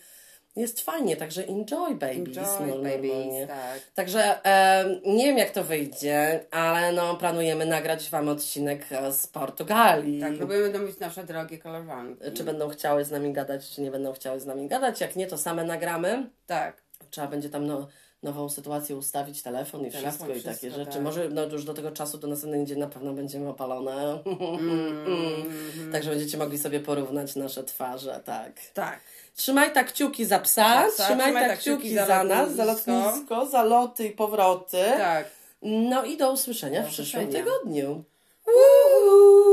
S2: Jest fajnie, także enjoy babies.
S1: Enjoy,
S2: no,
S1: babies,
S2: normalnie.
S1: tak.
S2: Także e, nie wiem jak to wyjdzie, ale no planujemy nagrać Wam odcinek e, z Portugalii.
S1: Tak, próbujemy domyć nasze drogie kolorowanki.
S2: Czy będą chciały z nami gadać, czy nie będą chciały z nami gadać. Jak nie, to same nagramy.
S1: Tak.
S2: Trzeba będzie tam no, nową sytuację ustawić, telefon i
S1: Telefon,
S2: wszystko, i takie
S1: wszystko,
S2: rzeczy.
S1: tak.
S2: Może no, już do tego czasu, do następnego dzień na pewno będziemy opalone.
S1: Mm.
S2: Także będziecie mogli sobie porównać nasze twarze, tak.
S1: Tak.
S2: Trzymaj tak kciuki za psa,
S1: Za psa,
S2: trzymaj tak kciuki za, nas, za lotnisko, za loty i powroty.
S1: Tak.
S2: No i do usłyszenia
S1: Do
S2: w przyszłym
S1: usłyszenia.
S2: tygodniu.
S1: Uhu.